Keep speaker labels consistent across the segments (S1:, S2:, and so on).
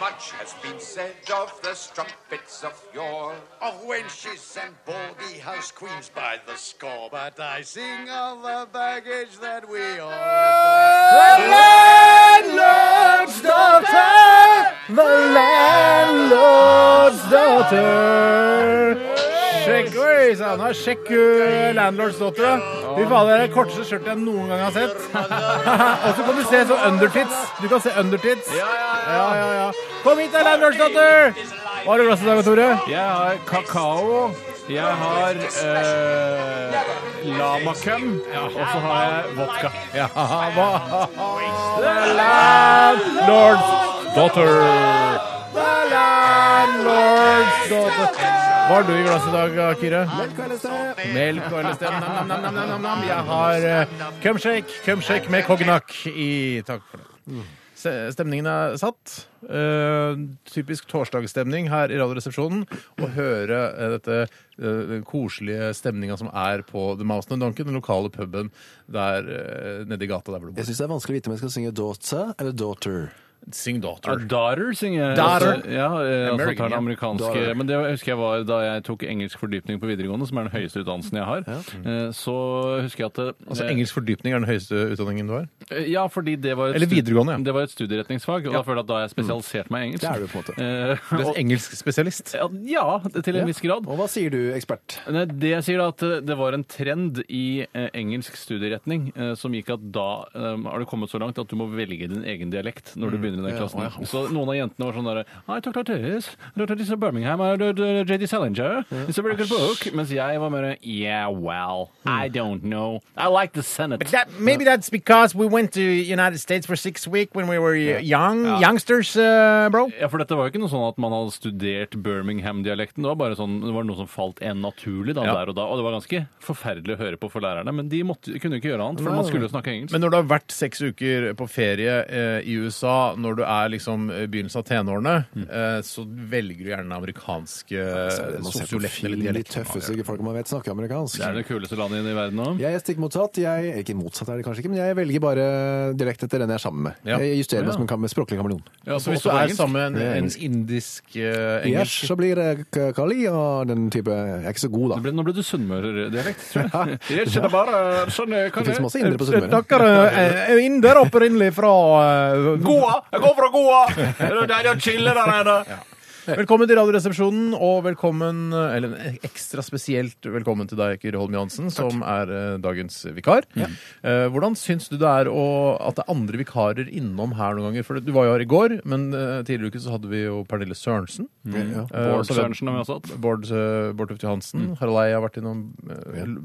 S1: Much has been said of the strumpets of yore, of wenches and baldy house queens by the score. But I sing of the baggage that we all adore.
S2: Sjekk Oi sann, da, sjekk uh, Landlords Daughter, da. Fy fader, det er det korteste skjørtet jeg noen gang har sett. Og så kan du se så undertits. Du kan se undertits. Ja, ja, ja. Kom hit, da, Landlords Daughter! Hva har du i glasset i dag, Tore?
S3: Jeg har kakao. Jeg har eh, lamakøm. Og så har jeg vodka.
S2: Ja, hva? The Landlords Daughter. The Landlords Daughter. Hva har du i glasset i dag, Kyrre? Melk og LSD. Nam, nam, nam, nam, nam, nam, nam. Jeg har uh, cumshake, cumshake med cognac i Takk for det.
S4: Mm.
S2: Se- Stemningen er satt. Eh, typisk torsdagsstemning her i Radioresepsjonen. Å høre eh, dette eh, den koselige stemninga som er på The Mouse and Donkey, den lokale puben der eh, nede i gata der hvor du bor.
S4: Jeg syns det er vanskelig å vite om jeg skal synge 'daughter' eller 'daughter'.
S2: Sing
S3: Ja,
S2: daughter.
S3: Daughter synger jeg.
S2: Daughter.
S3: Altså, Ja, eh, altså
S2: American,
S3: tar det
S2: ja.
S3: amerikanske
S4: Daughter.
S3: Men det husker jeg var da jeg tok engelsk fordypning på videregående, som er den høyeste utdannelsen jeg har. Eh, Så husker jeg at det-
S2: Altså
S3: eh,
S2: Engelsk fordypning er den høyeste utdanningen du har?
S3: Ja, fordi det var et
S2: Eller
S3: stud-
S2: videregående, ja.
S3: Det var et studieretningsfag, og da føler jeg at da har jeg spesialisert meg i engelsk.
S4: Det er du på en måte.
S2: Du
S3: måte.
S2: er engelsk spesialist.
S3: Ja, til en viss grad.
S4: Og hva sier du, ekspert?
S3: Nei, det jeg sier da, at eh, det var en trend i eh, engelsk studieretning eh, som gikk at da eh, har det kommet så langt at du må velge din egen dialekt
S2: Mm.
S3: når du begynner i den klassen. Så noen av jentene var sånn derre I talk like this. I talk like this in Birmingham. I do- do- do J.D. Salinger. It's a very good book. Mens jeg var mer Yeah, well, I don't know. I like the Senate.
S2: Mm. That, maybe that's because we went to United States for six weeks when we were young, youngsters, uh, bro.
S3: Ja, for dette var jo ikke noe sånn at man hadde studert Birmingham-dialekten. Det var bare sånn, det var noe som falt en naturlig da,
S2: Ja.
S3: der og da. Og det var ganske forferdelig å høre på for lærerne, men de måtte, kunne ikke gjøre annet, for man skulle jo snakke engelsk.
S2: Men når du har vært seks uker på ferie eh, i USA, når du er liksom i begynnelsen av tenårene,
S4: Mm.
S2: eh, så velger du gjerne den amerikanske
S4: altså,
S2: sosiolekten eller
S4: De
S2: dialekten.
S4: tøffeste folka man vet snakker amerikansk.
S3: det er det kuleste landet i verden nå.
S4: Jeg er stikk motsatt. Jeg, ikke motsatt er det kanskje ikke, men jeg velger bare dialekt etter den jeg er sammen med.
S2: Ja.
S4: Jeg justerer meg som en kam språklig kameleon.
S3: Ja,
S2: Så hvis
S3: også
S2: du
S3: på
S2: er
S3: engelsk.
S2: sammen med
S4: Det er
S2: en, en
S4: engelsk.
S2: indisk eh,
S4: Yes,
S2: engelsk
S4: så blir det k- kali og den type Jeg er ikke så god,
S3: Nå
S4: da.
S3: ble, nå ble du sunnmøredialekt, tror jeg. Jeg kjenner bare sånn jeg kan
S4: Det fins
S3: jeg.
S4: masse indre på Sunnmøre.
S2: er eh, inder opprinnelig fra eh,
S3: Goa! Jeg går fra Goa! Det er deilig å chille der nede.
S2: Velkommen til Radioresepsjonen, og velkommen, eller ekstra spesielt velkommen til deg, Kyrre Holm Johansen, som er eh, dagens vikar. Eh, hvordan syns du det er å, at det er andre vikarer innom her noen ganger? For du var jo her i går, men eh, tidligere i uke så hadde vi jo Pernille Sørensen.
S4: Ja.
S2: eh, og så har
S3: Bård
S2: vi
S3: Sørensen har vi også hatt.
S2: Bård, eh, Bård Tufte Johansen.
S4: Mm.
S2: Harald Eie har vært innom eh, l-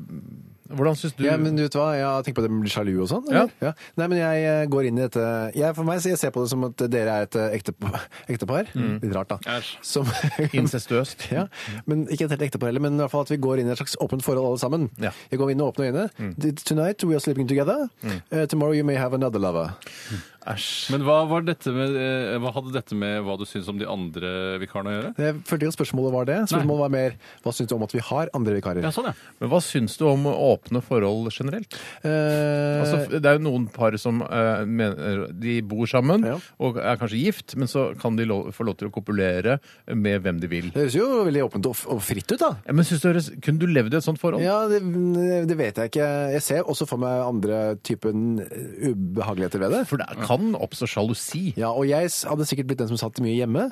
S2: Hvordan syns du
S4: Ja, men vet du hva? Jeg har tenkt på at jeg blir sjalu og sånn. eller? Ja. Nei, men jeg eh, går inn i dette jeg, For meg så jeg ser på det som at dere er et eh, ekte- ektepar. Litt rart, da.
S3: Æsj.
S4: Som,
S2: Mm. incestuøst?
S4: ja, men Ikke et helt ektepar heller, men i hvert fall at vi går inn i et slags åpent forhold alle sammen.
S2: Ja. Mm.
S4: Jeg går inn med åpne øyne. Tonight we are sleeping together. Eh, tomorrow you may have another lover.
S3: Men hva, var dette med, eh, hva hadde dette med hva du syns om de andre vikarene å gjøre?
S4: Jeg følte ikke at spørsmålet var det. Spørsmålet var mer hva syns du om at vi har andre vikarer?
S3: Ja, sånn, ja.
S2: Men hva syns du om åpne forhold generelt?
S4: Eh,
S2: Altså, f- det er jo noen par som eh, mener, de bor sammen
S4: Ja.
S2: og er kanskje gift, men så kan de lo få lov til å kopulere med hvem de vil.
S4: det høres jo veldig åpent og, f- og fritt ut, da.
S2: Ja, Men synes du, høres- Kunne du levd i et sånt forhold?
S4: Ja, det, det vet jeg ikke. Jeg ser også for meg andre typen ubehageligheter ved det.
S2: For det kan oppstå sjalusi.
S4: Ja, og jeg s- hadde sikkert blitt den som satt mye hjemme.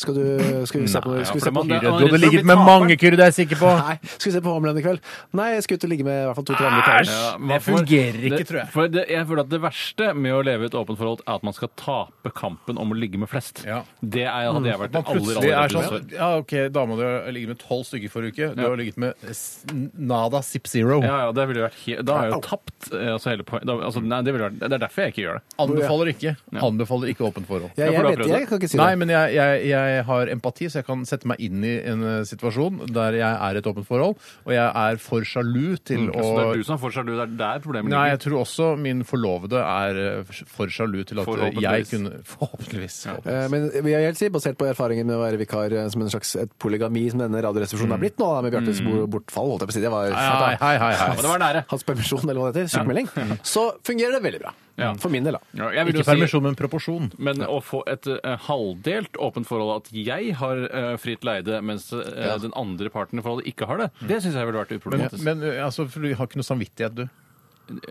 S4: Skal, du, skal vi se på, skal vi
S3: for
S4: se på
S3: man-
S2: Du
S3: det- man er
S2: hadde
S3: redd for å
S2: ligget
S3: bli
S2: med
S3: taperen.
S2: mange, Kyrre, det er jeg sikker på!
S4: Nei, skal vi se på Homeland i kveld? Nei, jeg skal ut og ligge med i hvert fall to-tre andre karer.
S3: Ja, man
S2: Det
S3: får-
S2: fungerer ikke,
S3: det,
S2: tror jeg.
S3: For det, jeg føler at det verste med å leve i et åpent forhold er at man skal tape kampen om å ligge med flest.
S2: Ja.
S3: Det er, hadde jeg vært
S2: Man
S3: det aller,
S2: plutselig
S3: aller
S2: er
S3: verste.
S2: sånn Ja, OK, dama di har ligget med tolv stykker forrige uke. Du
S3: Ja.
S2: har ligget med s- nada zip zero.
S3: Ja, ja, det ville vært he Da har jeg jo tapt eh, altså hele poen- da, altså, nei, det, ville vært, det er derfor jeg ikke gjør det.
S2: Anbefaler anbefaler ikke. Anbefaler ikke åpent forhold.
S4: Ja, jeg,
S3: for du har
S4: vet,
S3: prøvd
S4: jeg
S3: det.
S4: kan ikke si det.
S2: Nei, men jeg, jeg, jeg har empati, så jeg kan sette meg inn i en eh, situasjon der jeg er i et åpent forhold, og jeg er for sjalu til å
S3: Så Mm, altså, det er du som er for sjalu. Det er der problemet
S2: Nei, jeg
S3: ligger.
S2: tror også min forlovede er eh, for sjalu til at
S3: Forhåpentligvis.
S2: jeg kunne Forhåpentligvis.
S4: Eh, Men jeg vil helt si, basert på erfaringen med å være vikar eh, som en slags et polygami som denne radioresepsjonen har blitt nå, da, med Bjartes bo- bortfall, holdt jeg på å si. Det var
S2: Hei, hei, hei, hei.
S3: Ja, men det var nære.
S4: hans permisjon, eller hva det heter. Sykemelding. Så fungerer det veldig bra.
S3: Ja.
S4: For min del, da.
S3: Ja, jeg vil jo
S2: Ikke
S3: si-
S2: permisjon, men proporsjon.
S3: Men å få et eh, halvdelt åpent forhold, at jeg har eh, fritt leide, mens eh, den andre parten i forholdet ikke har det, det syns jeg ville vært
S2: Mm. Men,
S3: uproblematisk.
S2: men eh, altså, for du har ikke noe samvittighet, du.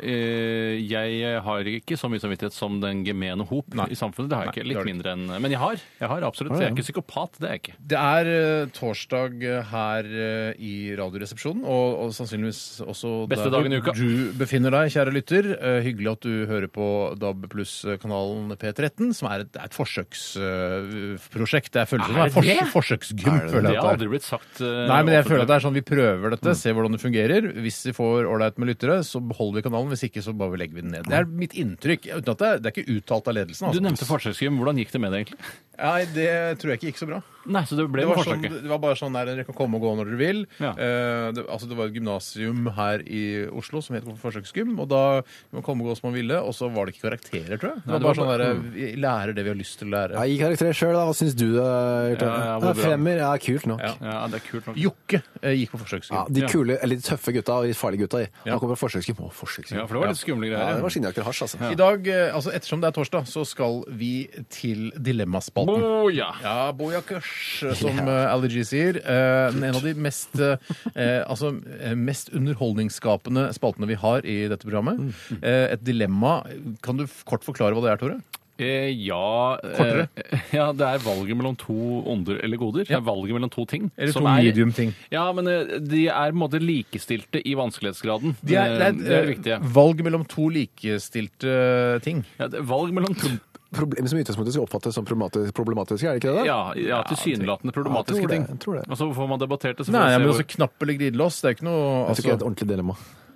S3: Eh, jeg har ikke så mye samvittighet som den gemene hop
S2: Nei.
S3: i samfunnet. Det har jeg
S2: Nei,
S3: ikke.
S2: det
S3: Litt
S2: har du ikke.
S3: mindre enn Men jeg har. Jeg har absolutt. Så jeg er ikke psykopat. Det er jeg ikke.
S2: Det er eh, torsdag eh, her eh, i Radioresepsjonen, og, og sannsynligvis også
S3: Beste
S2: hvor
S3: dagen i uka.
S2: du befinner deg, kjære lytter. Eh, hyggelig at du hører på DAB pluss-kanalen P13, som er et, det er et forsøksprosjekt. det er, føles som det er fors forsøksgym,
S3: Det
S2: føler jeg.
S3: har
S2: at det er.
S3: aldri Mm. blitt sagt. eh,
S2: Nei, men jeg føler
S3: offentlig.
S2: at det er sånn vi prøver dette, ser hvordan det fungerer. Hvis vi får ålreit med lyttere, så beholder vi kanalen. Hvis ikke, så bare legger vi den ned. Det er mitt inntrykk. Uten at det, er- det er ikke uttalt av ledelsen.
S3: Du
S2: Altså.
S3: nevnte forsøksgym. Hvordan gikk det med det, egentlig?
S2: Nei, det tror jeg ikke gikk så bra.
S3: Nei, så det ble
S2: Det
S3: med
S2: var, sånn,
S3: forsøket.
S2: det var bare sånn der dere kan komme og gå når dere vil.
S3: Ja.
S2: Eh, det, altså det var et gymnasium her i Oslo som het Forsøksgym, og da kunne man komme og gå som man ville, og så var det ikke karakterer, tror jeg. Det var
S3: det
S2: bare
S3: var
S2: sånn der,
S3: bare-
S2: vi lærer det vi har lyst til å lære.
S4: Ja, Gi karakter sjøl, da. Hva syns du? da, Hjerte?
S3: Ja, ja, hvor bra.
S4: Fremmer? Ja, kult nok.
S2: Ja.
S4: Ja.
S3: Ja, det er kult nok.
S2: Jokke eh, gikk på Forsøksgym.
S4: de kule, eller de tøffe gutta og de farlige gutta. de.
S2: Ja.
S4: Han kommer fra forsøksgym. Å, forsøksgym.
S3: Ja, for det var litt skumle
S4: Ja,
S3: greier.
S4: det
S3: ja.
S4: var skinnjakker og hasj, altså.
S2: I dag, eh, altså ettersom det er torsdag, så skal vi til Dilemmaspalten.
S3: Å, ja.
S2: Ja, Bojakers, som eh, Allergy sier. Eh, den en av de mest, eh, eh, altså, eh, mest underholdningsskapende spaltene vi har i dette programmet.
S3: Mm.
S2: Eh, et dilemma. Kan du f- kort forklare hva det er, Tore?
S3: Eh, ja
S2: Kortere?
S3: Eh, ja, det er valget mellom to onder eller goder. Det er valget mellom to ting.
S2: Eller
S3: som
S2: to
S3: er-
S2: medium-ting.
S3: Ja, men eh, de er på en måte likestilte i vanskelighetsgraden.
S2: De er-
S3: Eh, det er
S2: eh,
S3: viktig.
S2: Valg mellom to likestilte eh, ting.
S3: Ja, det- valg mellom to
S4: Problemer som i utgangspunktet skal oppfattes som problematisk- problematiske, er det ikke det? da?
S3: ja, ja, tilsynelatende problematiske
S4: jeg tror det,
S3: ting.
S4: jeg tror det.
S3: Og så får man debattert det. så får man
S2: Nei,
S3: se
S2: men altså
S3: hvor-
S2: også knapp eller glidelås. Det er ikke noe
S4: Jeg tror ikke det er et
S2: altså,
S4: ordentlig dilemma.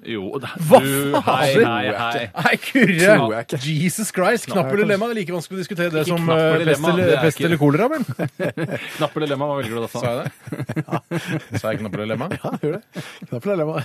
S3: Jo, det,
S2: Hva
S3: du, hei,
S2: faen?
S3: hei,
S2: Nei,
S3: hei.
S4: Tror jeg
S2: kurre!
S4: ikke.
S2: Jesus Christ! Knapp eller lemma? Det er like vanskelig å diskutere det
S3: Ikke
S2: som
S3: knapp
S2: eh,
S3: eller
S2: pest
S3: lemma, det
S2: eller,
S3: er
S2: pest
S3: ikke-
S2: eller kolera, vel?
S3: Knapp eller lemma, hva velger du da?
S2: Sa
S3: Sa
S2: jeg det? Sa jeg knapp eller lemma?
S4: Ja, gjør det. Knapp eller lemma.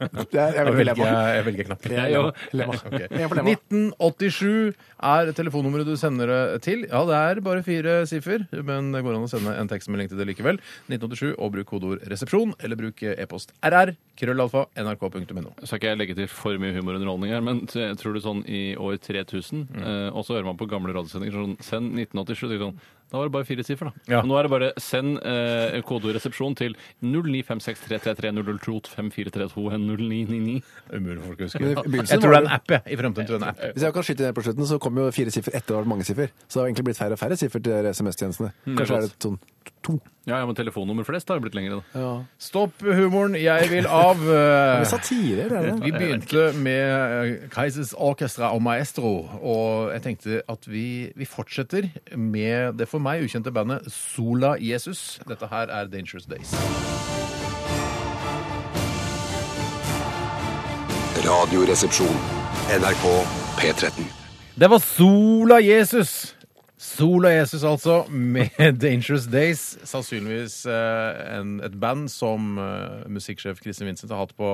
S4: Det er, jeg
S2: Jeg
S4: velger
S2: velger,
S4: lemma.
S2: jeg velger knapp.
S4: Jeg
S3: jo.
S4: lemma.
S2: Ok.
S4: Jeg får lemma.
S2: 1987 er telefonnummeret du sender det til. Ja, det er bare fire siffer, men det går an å sende en tekstmelding til det likevel. 1987, og bruk kodeord 'resepsjon', eller bruk eh, e-post rr, krøllalfa, nrk.no.
S3: skal ikke jeg legge til for mye humorunderholdning her, men t- jeg tror du sånn i år 3000,
S2: Mm.
S3: eh, og så hører man på gamle radiosendinger sånn Send 1987, sier sånn Da var det bare fire siffer, da.
S2: Ja.
S3: Og Nå er det bare send eh, kodeord resepsjon til 095633300254320999.
S2: Umulig for folk å huske.
S4: Men i begynnelsen
S2: Jeg tror det er
S4: var det-
S2: en app, jeg. I fremtiden tror jeg det er en app.
S4: Hvis jeg kan skyte ned på slutten, så kommer jo fire siffer etter å ha vært mange siffer. Så det har egentlig blitt færre og færre siffer til SMS-tjenestene. Kanskje er det sånn to.
S3: Ja, ja, men telefonnummer flest har jo blitt lengre, da.
S2: Stopp humoren, jeg vil av. eh,
S4: Det er satire, det er det.
S2: Vi begynte med Kaisers Orkestra og Maestro, og jeg tenkte at vi, vi fortsetter med det for meg ukjente bandet Sola Jesus. Dette her er Dangerous Days.
S5: Radioresepsjon. NRK P13.
S2: Det var Sola Jesus! Sola Jesus, altså, med Dangerous Days. Sannsynligvis eh, en, et band som eh, musikksjef Kristin Vincent har hatt på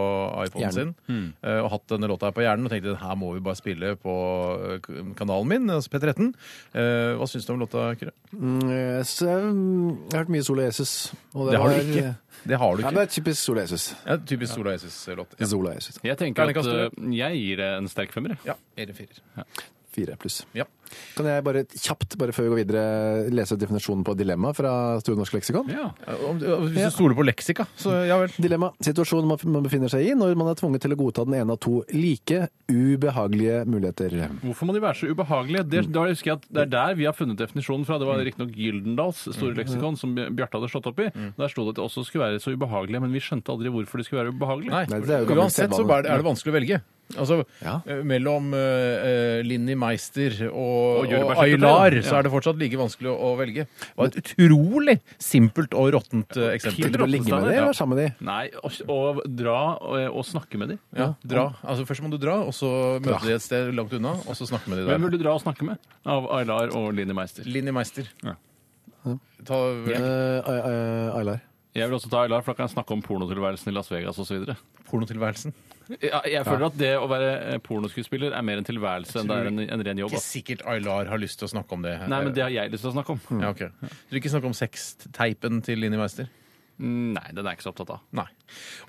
S2: iPhonen sin.
S4: Hjernen.
S2: eh, og hatt denne låta her på hjernen og tenkte den her må vi bare spille på eh, k- kanalen min, altså P13. Eh, hva syns du om låta, Kyrre?
S4: Mm, så, mm, Jeg har hørt mye Sol og Jesus. Og
S2: Det har du
S4: var- eh,
S2: ikke. Det har du
S4: Ja,
S2: ikke.
S4: det er typisk Sol og Jesus.
S2: Ja, typisk Sola Jesus-låt. Ja.
S4: Sol og Jesus.
S3: Jeg tenker at
S2: Terningkast
S3: eh, jeg gir det en sterk femmer, jeg.
S2: Ja, eller firer.
S4: Fire pluss.
S2: Ja.
S4: Kan jeg bare kjapt, bare før vi går videre, lese definisjonen på dilemma fra Store norske leksikon?
S3: Ja.
S2: Om, hvis du stoler på leksika, så ja vel.
S4: Dilemma. Situasjonen man- man befinner seg i når man er tvunget til å godta den ene av to like ubehagelige muligheter.
S3: Hvorfor må de være så ubehagelige? Det,
S2: Mm.
S3: da husker jeg at det er der vi har funnet definisjonen fra. Det var riktignok Gyldendals store
S2: Mm.
S3: leksikon som Bjarte hadde slått opp i. Der sto det at det også skulle være så ubehagelige, men vi skjønte aldri hvorfor de skulle være ubehagelige.
S2: Nei,
S4: Nei, det er jo gammel
S2: uansett så
S4: sedvane.
S2: bare er det vanskelig å velge. Altså,
S4: Ja.
S2: eh, Mellom eh, eh, Linni Meister og,
S3: Og
S2: og,
S3: jordbærsyltetøy.
S2: Aylar
S3: Ja.
S2: så er det fortsatt like vanskelig å, å velge. Det var et utrolig simpelt og råttent eh,
S3: Helt
S2: eksempel.
S4: Vil du ligge med dem, eller være sammen med dem?
S3: Nei, og, og dra og, og snakke med dem.
S2: Ja, dra. Altså, først må du dra, og så møte de et sted langt unna, og så snakke med de
S3: Hvem
S2: der.
S3: vil du dra og snakke med? Av Aylar og Linni Meister.
S2: Linni Meister.
S3: Ja.
S2: Ta,
S4: Eh, Ay- Ay- Aylar.
S3: Jeg vil også ta Aylar, for da kan jeg snakke om pornotilværelsen i Las Vegas osv.
S2: Pornotilværelsen.
S3: Jeg, jeg føler at det å være eh, pornoskuespiller er mer en tilværelse enn det er en, en ren jobb.
S2: Ikke
S3: ass.
S2: sikkert Aylar har lyst til å snakke om det.
S3: Nei, men det har jeg lyst til å snakke om.
S2: Ja, ok. Du vil ikke snakke om sexteipen til Linni Meister? Mm.
S3: Nei, den er jeg ikke så opptatt av.
S2: Nei.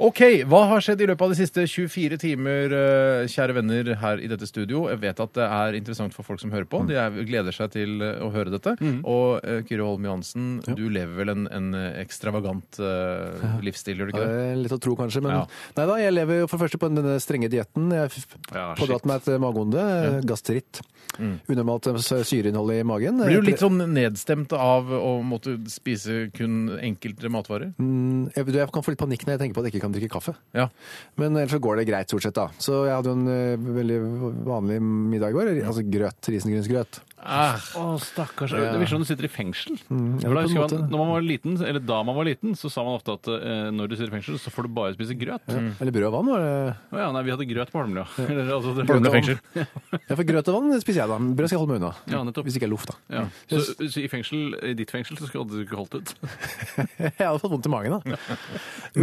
S2: OK, hva har skjedd i løpet av de siste 24 timer, eh, kjære venner her i dette studio? Jeg vet at det er interessant for folk som hører
S4: Mm.
S2: på. De er, gleder seg til eh, å høre dette. Og eh, Kyrre Holm Johansen, du lever vel en, en ekstravagant eh, livsstil, gjør du ikke det?
S4: Eh, Litt å tro, kanskje. Men
S2: Ja.
S4: nei da, jeg lever jo for det første på denne strenge dietten. Jeg f-
S3: Ja,
S4: pådratt
S3: shit.
S4: meg et magehonde. eh, Gastritt. Unormalt eh, syreinnhold i magen.
S2: Blir du litt sånn nedstemt av å måtte spise kun enkelte matvarer?
S4: Mm, Jeg, du, jeg kan få litt panikk når jeg tenker på at jeg ikke kan drikke kaffe.
S2: Ja.
S4: Men ellers så går det greit, stort sett. da. Så jeg hadde jo en eh, veldig vanlig middag i går. Altså grøt. Risengrynsgrøt.
S3: Å, stakkars. Det virker som du sitter i fengsel.
S4: Mm,
S3: For da
S4: ja, på en
S3: husker man,
S4: måte.
S3: når man var liten, eller da man var liten, så sa man ofte at eh, når du sitter i fengsel, så får du bare spise grøt. Å
S4: Eller brød og vann. Var det.
S3: ja, nei, vi hadde grøt på Holmlia. Eller, altså, det-
S2: Holmlia fengsel.
S4: Ja, for grøt og vann spiser jeg, da. Men Brød skal jeg holde meg unna.
S3: Ja, nettopp.
S4: Hvis ikke jeg er loff, da.
S3: Ja. Så, så i fengsel, i ditt fengsel, så skulle du ikke holdt ut.
S4: Jeg hadde fått vondt i magen, da.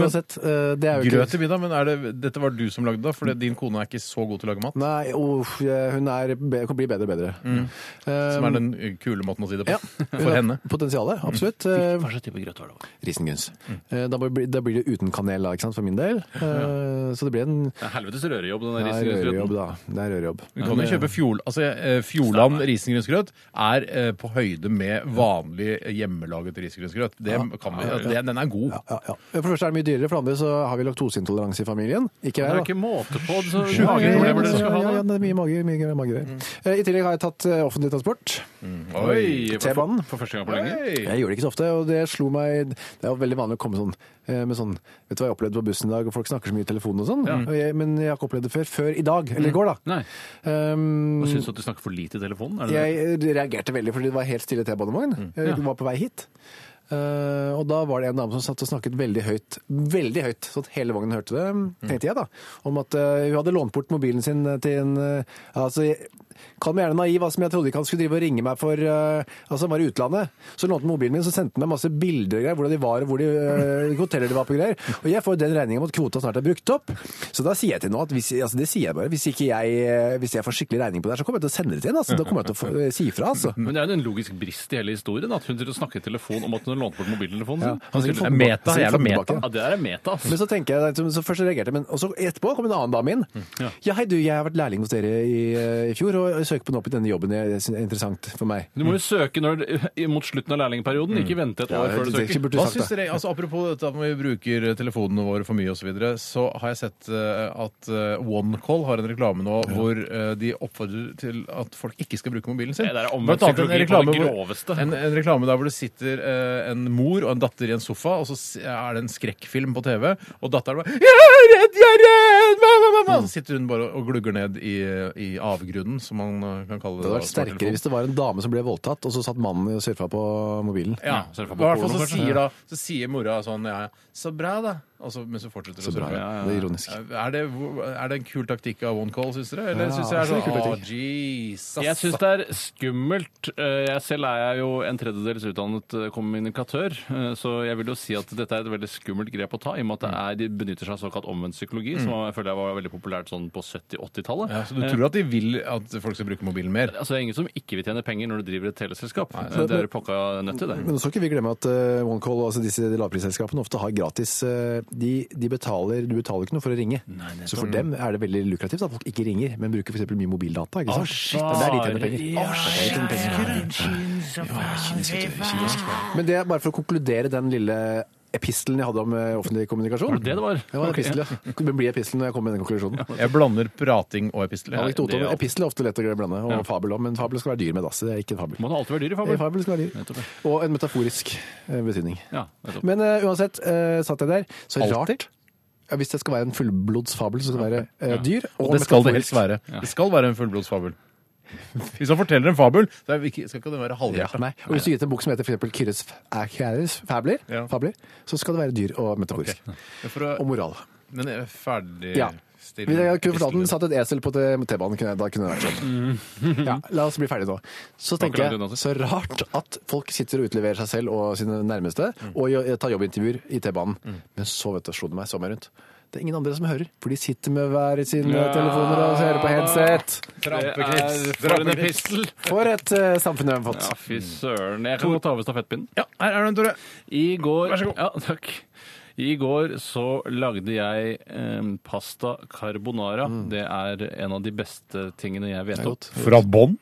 S4: Uansett, eh, det er jo ikke
S2: Grøt i middag, men er det, dette var du som lagde det? For din kone er ikke så god til å lage mat?
S4: Nei, uff, jeg- hun er, be- kan bli bedre og bedre.
S3: Mm.
S4: Eh,
S2: Som er den kule måten å si det på.
S4: ja, hun
S2: For
S4: har
S2: henne.
S4: Potensialet,
S3: Mm.
S4: absolutt. Eh,
S3: Hva slags type grøt var det?
S4: Risengryns.
S3: Mm.
S4: Eh, Da, blir- da blir det uten kanel, da, ikke sant, for min del. Eh, Så det blir en
S3: Det er helvetes rørejobb, den
S4: det
S3: der
S4: er
S3: risengrynsgrøten.
S4: rørejobb, da. Det er rørejobb.
S2: Du kan jo kjøpe fjol, altså, eh, Fjordland risengrynsgrøt er eh, på høyde med vanlig hjemmelaget risengrynsgrøt. Det kan vi, det, den er god.
S4: Ja, ja. For det første er det mye dyrere, for det andre så har vi laktoseintoleranse i familien.
S3: Det
S4: Ikke
S3: er
S4: jeg, da.
S3: ikke måte på så
S4: Ja, ja, ja,
S3: mageproblemer dere skal
S4: ja,
S3: ha Mm.
S4: ja,
S3: nå.
S4: det er mye mage- mye magegreier. Eh, I tillegg har jeg tatt eh, offentlig transport.
S3: Oi, for,
S4: T-banen.
S3: for første gang på lenge.
S4: Jeg gjorde det ikke så ofte, og det slo meg Det er jo veldig vanlig å komme sånn eh, med sånn Vet du hva jeg opplevde på bussen i dag, og folk snakker så mye i telefonen og sånn. Og jeg, men jeg har ikke opplevd det før. Før i dag. Eller i går, da.
S3: Nei.
S4: Um,
S3: Syns du at du snakker for lite i telefonen? Er det det?
S4: jeg reagerte veldig fordi det var helt stille T-banevogn. Jeg var på vei hit. Eh, og da var det en dame som satt og snakket veldig høyt, veldig høyt, sånn at hele vognen hørte det, tenkte jeg da, om at eh, hun hadde lånt bort mobilen sin til en eh, altså, jeg- Kall meg gjerne naiv, altså, men jeg trodde ikke han skulle drive og ringe meg for eh, Altså, han var i utlandet. Så lånte han mobilen min, så sendte han meg masse bilder og greier, hvordan de var og hvor de, eh, hvilke hoteller de var på og greier. Og jeg får jo den regningen om at kvota snart er brukt opp. Så da sier jeg til nå at hvis, altså, det sier jeg bare, hvis ikke jeg, eh, hvis jeg får skikkelig regning på det her, så kommer jeg til å sende det til henne, altså. Da kommer jeg til å få, si ifra, altså.
S3: Men det er jo en logisk brist i hele historien at hun sitter og snakker i telefon om at hun har lånt bort mobiltelefonen
S4: Ja,
S3: sin.
S4: han sikkert får den
S2: meta,
S4: tilbake.
S2: jævla
S4: Sikkert får den
S2: meta.
S4: tilbake.
S3: Ja, det der er meta, altså. ass.
S4: Men så tenker jeg, så først reagerte jeg, men og så etterpå kom en annen dame inn. Mm, Ja. hei du, jeg har vært lærling hos dere i, eh, i fjor, og jeg søker på den opp i denne jobben. Det er interessant for meg.
S3: Du må jo søke når, mot slutten av lærlingperioden, ikke vente et år før du
S4: det
S3: søker.
S4: burde du
S2: Hva
S4: sagt,
S2: syns
S4: da.
S2: dere, altså Apropos dette at vi bruker telefonene våre for mye osv., så, videre, så har jeg sett eh, at eh, OneCall har en reklame nå hvor eh, de oppfordrer til at folk ikke skal bruke mobilen sin.
S3: Det der er omvendt
S2: Blant annet en
S3: psykologi på det
S2: reklame
S3: groveste.
S2: hvor, en, en reklame der hvor det sitter eh, en mor og en datter i en sofa, og så s- er det en skrekkfilm på TV, og datteren bare 'Jeg er redd, jeg er redd!' Mamma,
S4: Mm.
S2: mamma! Så sitter hun bare og glugger ned i, i avgrunnen, som man eh, kan kalle det.
S4: Det hadde vært
S2: da, smarttelefonen.
S4: sterkere hvis det var en dame som ble voldtatt, og så satt mannen og surfa på mobilen.
S2: Ja.
S3: Ja, surfa på
S2: I hvert fall
S3: porno
S2: så
S3: først.
S2: sier, da, så sier mora sånn ja, ja, Så bra, da. Og så, men så fortsetter hun å
S4: Så bra,
S2: surfe.
S4: ja, Det er ironisk.
S2: Er det, hvor- er det en kul taktikk av one call, syns dere? Eller
S4: Ja,
S2: syns dere det er
S4: det er en
S2: sånn
S4: kul
S2: Å,
S4: taktikk.
S2: Jesus.
S3: Jeg syns det er skummelt. Eh, Jeg selv er jeg jo en tredjedels utdannet eh, kommunikatør, eh, så jeg vil jo si at dette er et veldig skummelt grep å ta, i og med at det er, de benytter seg av såkalt omvendt psykologi, som jeg føler jeg var veldig populært sånn på 70-80-tallet.
S2: ja, så du tror at de vil at folk skal bruke mobilen mer?
S3: Altså, det er ingen som ikke vil tjene penger når du driver et teleselskap. Eh,
S4: sant.
S3: det Mm. er pokka nødt til det.
S4: Men så skal ikke vi glemme at eh, OneCall, altså disse lavprisselskapene, ofte har gratis eh, de, de betaler, Du betaler ikke noe for å ringe. så for dem er det veldig lukrativt at folk ikke ringer, men bruker f.eks. mye mobildata. ikke sant? Det er der de tjener penger. Der tjener penger. Men det er bare for å konkludere den lille epistelen jeg hadde om eh, offentlig kommunikasjon.
S3: Var det det det var?
S4: Ja, det var epistel, ja. Det blir epistelen når jeg kommer med den konklusjonen.
S2: Jeg blander prating og epistel. jeg.
S4: Anekdote
S3: det
S4: om
S3: er alt.
S4: epistel er ofte lett å blande, og fabel òg, men fabel skal være dyr med dass. Det er ikke en fabel.
S3: Må det alltid være dyr i
S4: En
S3: fabel?
S4: fabel skal være dyr.
S3: Nettopp,
S4: Og en metaforisk eh, betydning.
S3: Ja, nettopp.
S4: Men eh, uansett, eh, satt jeg der, så
S2: Alltid?
S4: rart ja, Hvis det skal være en fullblodsfabel, så skal det være eh, dyr.
S2: Og det skal det helst være. Det skal være en fullblodsfabel. Hvis han forteller en fabel, så er vi ikke, skal ikke den være
S4: Ja,
S2: halvhjerta.
S4: nei. Og hvis du gir ut en bok som heter for eksempel Kyrres f- er Kjæres fabler,
S2: Ja.
S4: fabler, så skal det være dyr og metaforisk.
S2: Men for å-
S4: Og moral.
S2: Men jeg er ferdig
S4: Ja. Hvis jeg kunne fortalt den, satt et esel på t- T-banen, kunne jeg- da kunne det vært sånn.
S3: Mm.
S4: Ja, la oss bli ferdig nå. Så tenker
S3: Akkurat det,
S4: jeg,
S3: Nasse.
S4: så rart at folk sitter og utleverer seg selv og sine nærmeste, og jo- tar jobbintervjuer i T-banen. Men så, vet du, slo det meg, så meg rundt. Det er ingen andre som hører, for de sitter med hver sine telefoner og hører på headset.
S3: Det er for en epistel!
S4: For et eh, samfunn vi har fått.
S3: Ja, fy søren. Jeg kan godt ta over stafettpinnen.
S2: Ja, her er den, Tore.
S3: I går
S2: Vær så god.
S3: Ja, takk. I går så lagde jeg eh, pasta carbonara.
S2: Mm.
S3: Det er en av de beste tingene jeg vet om.
S2: Fra bånn?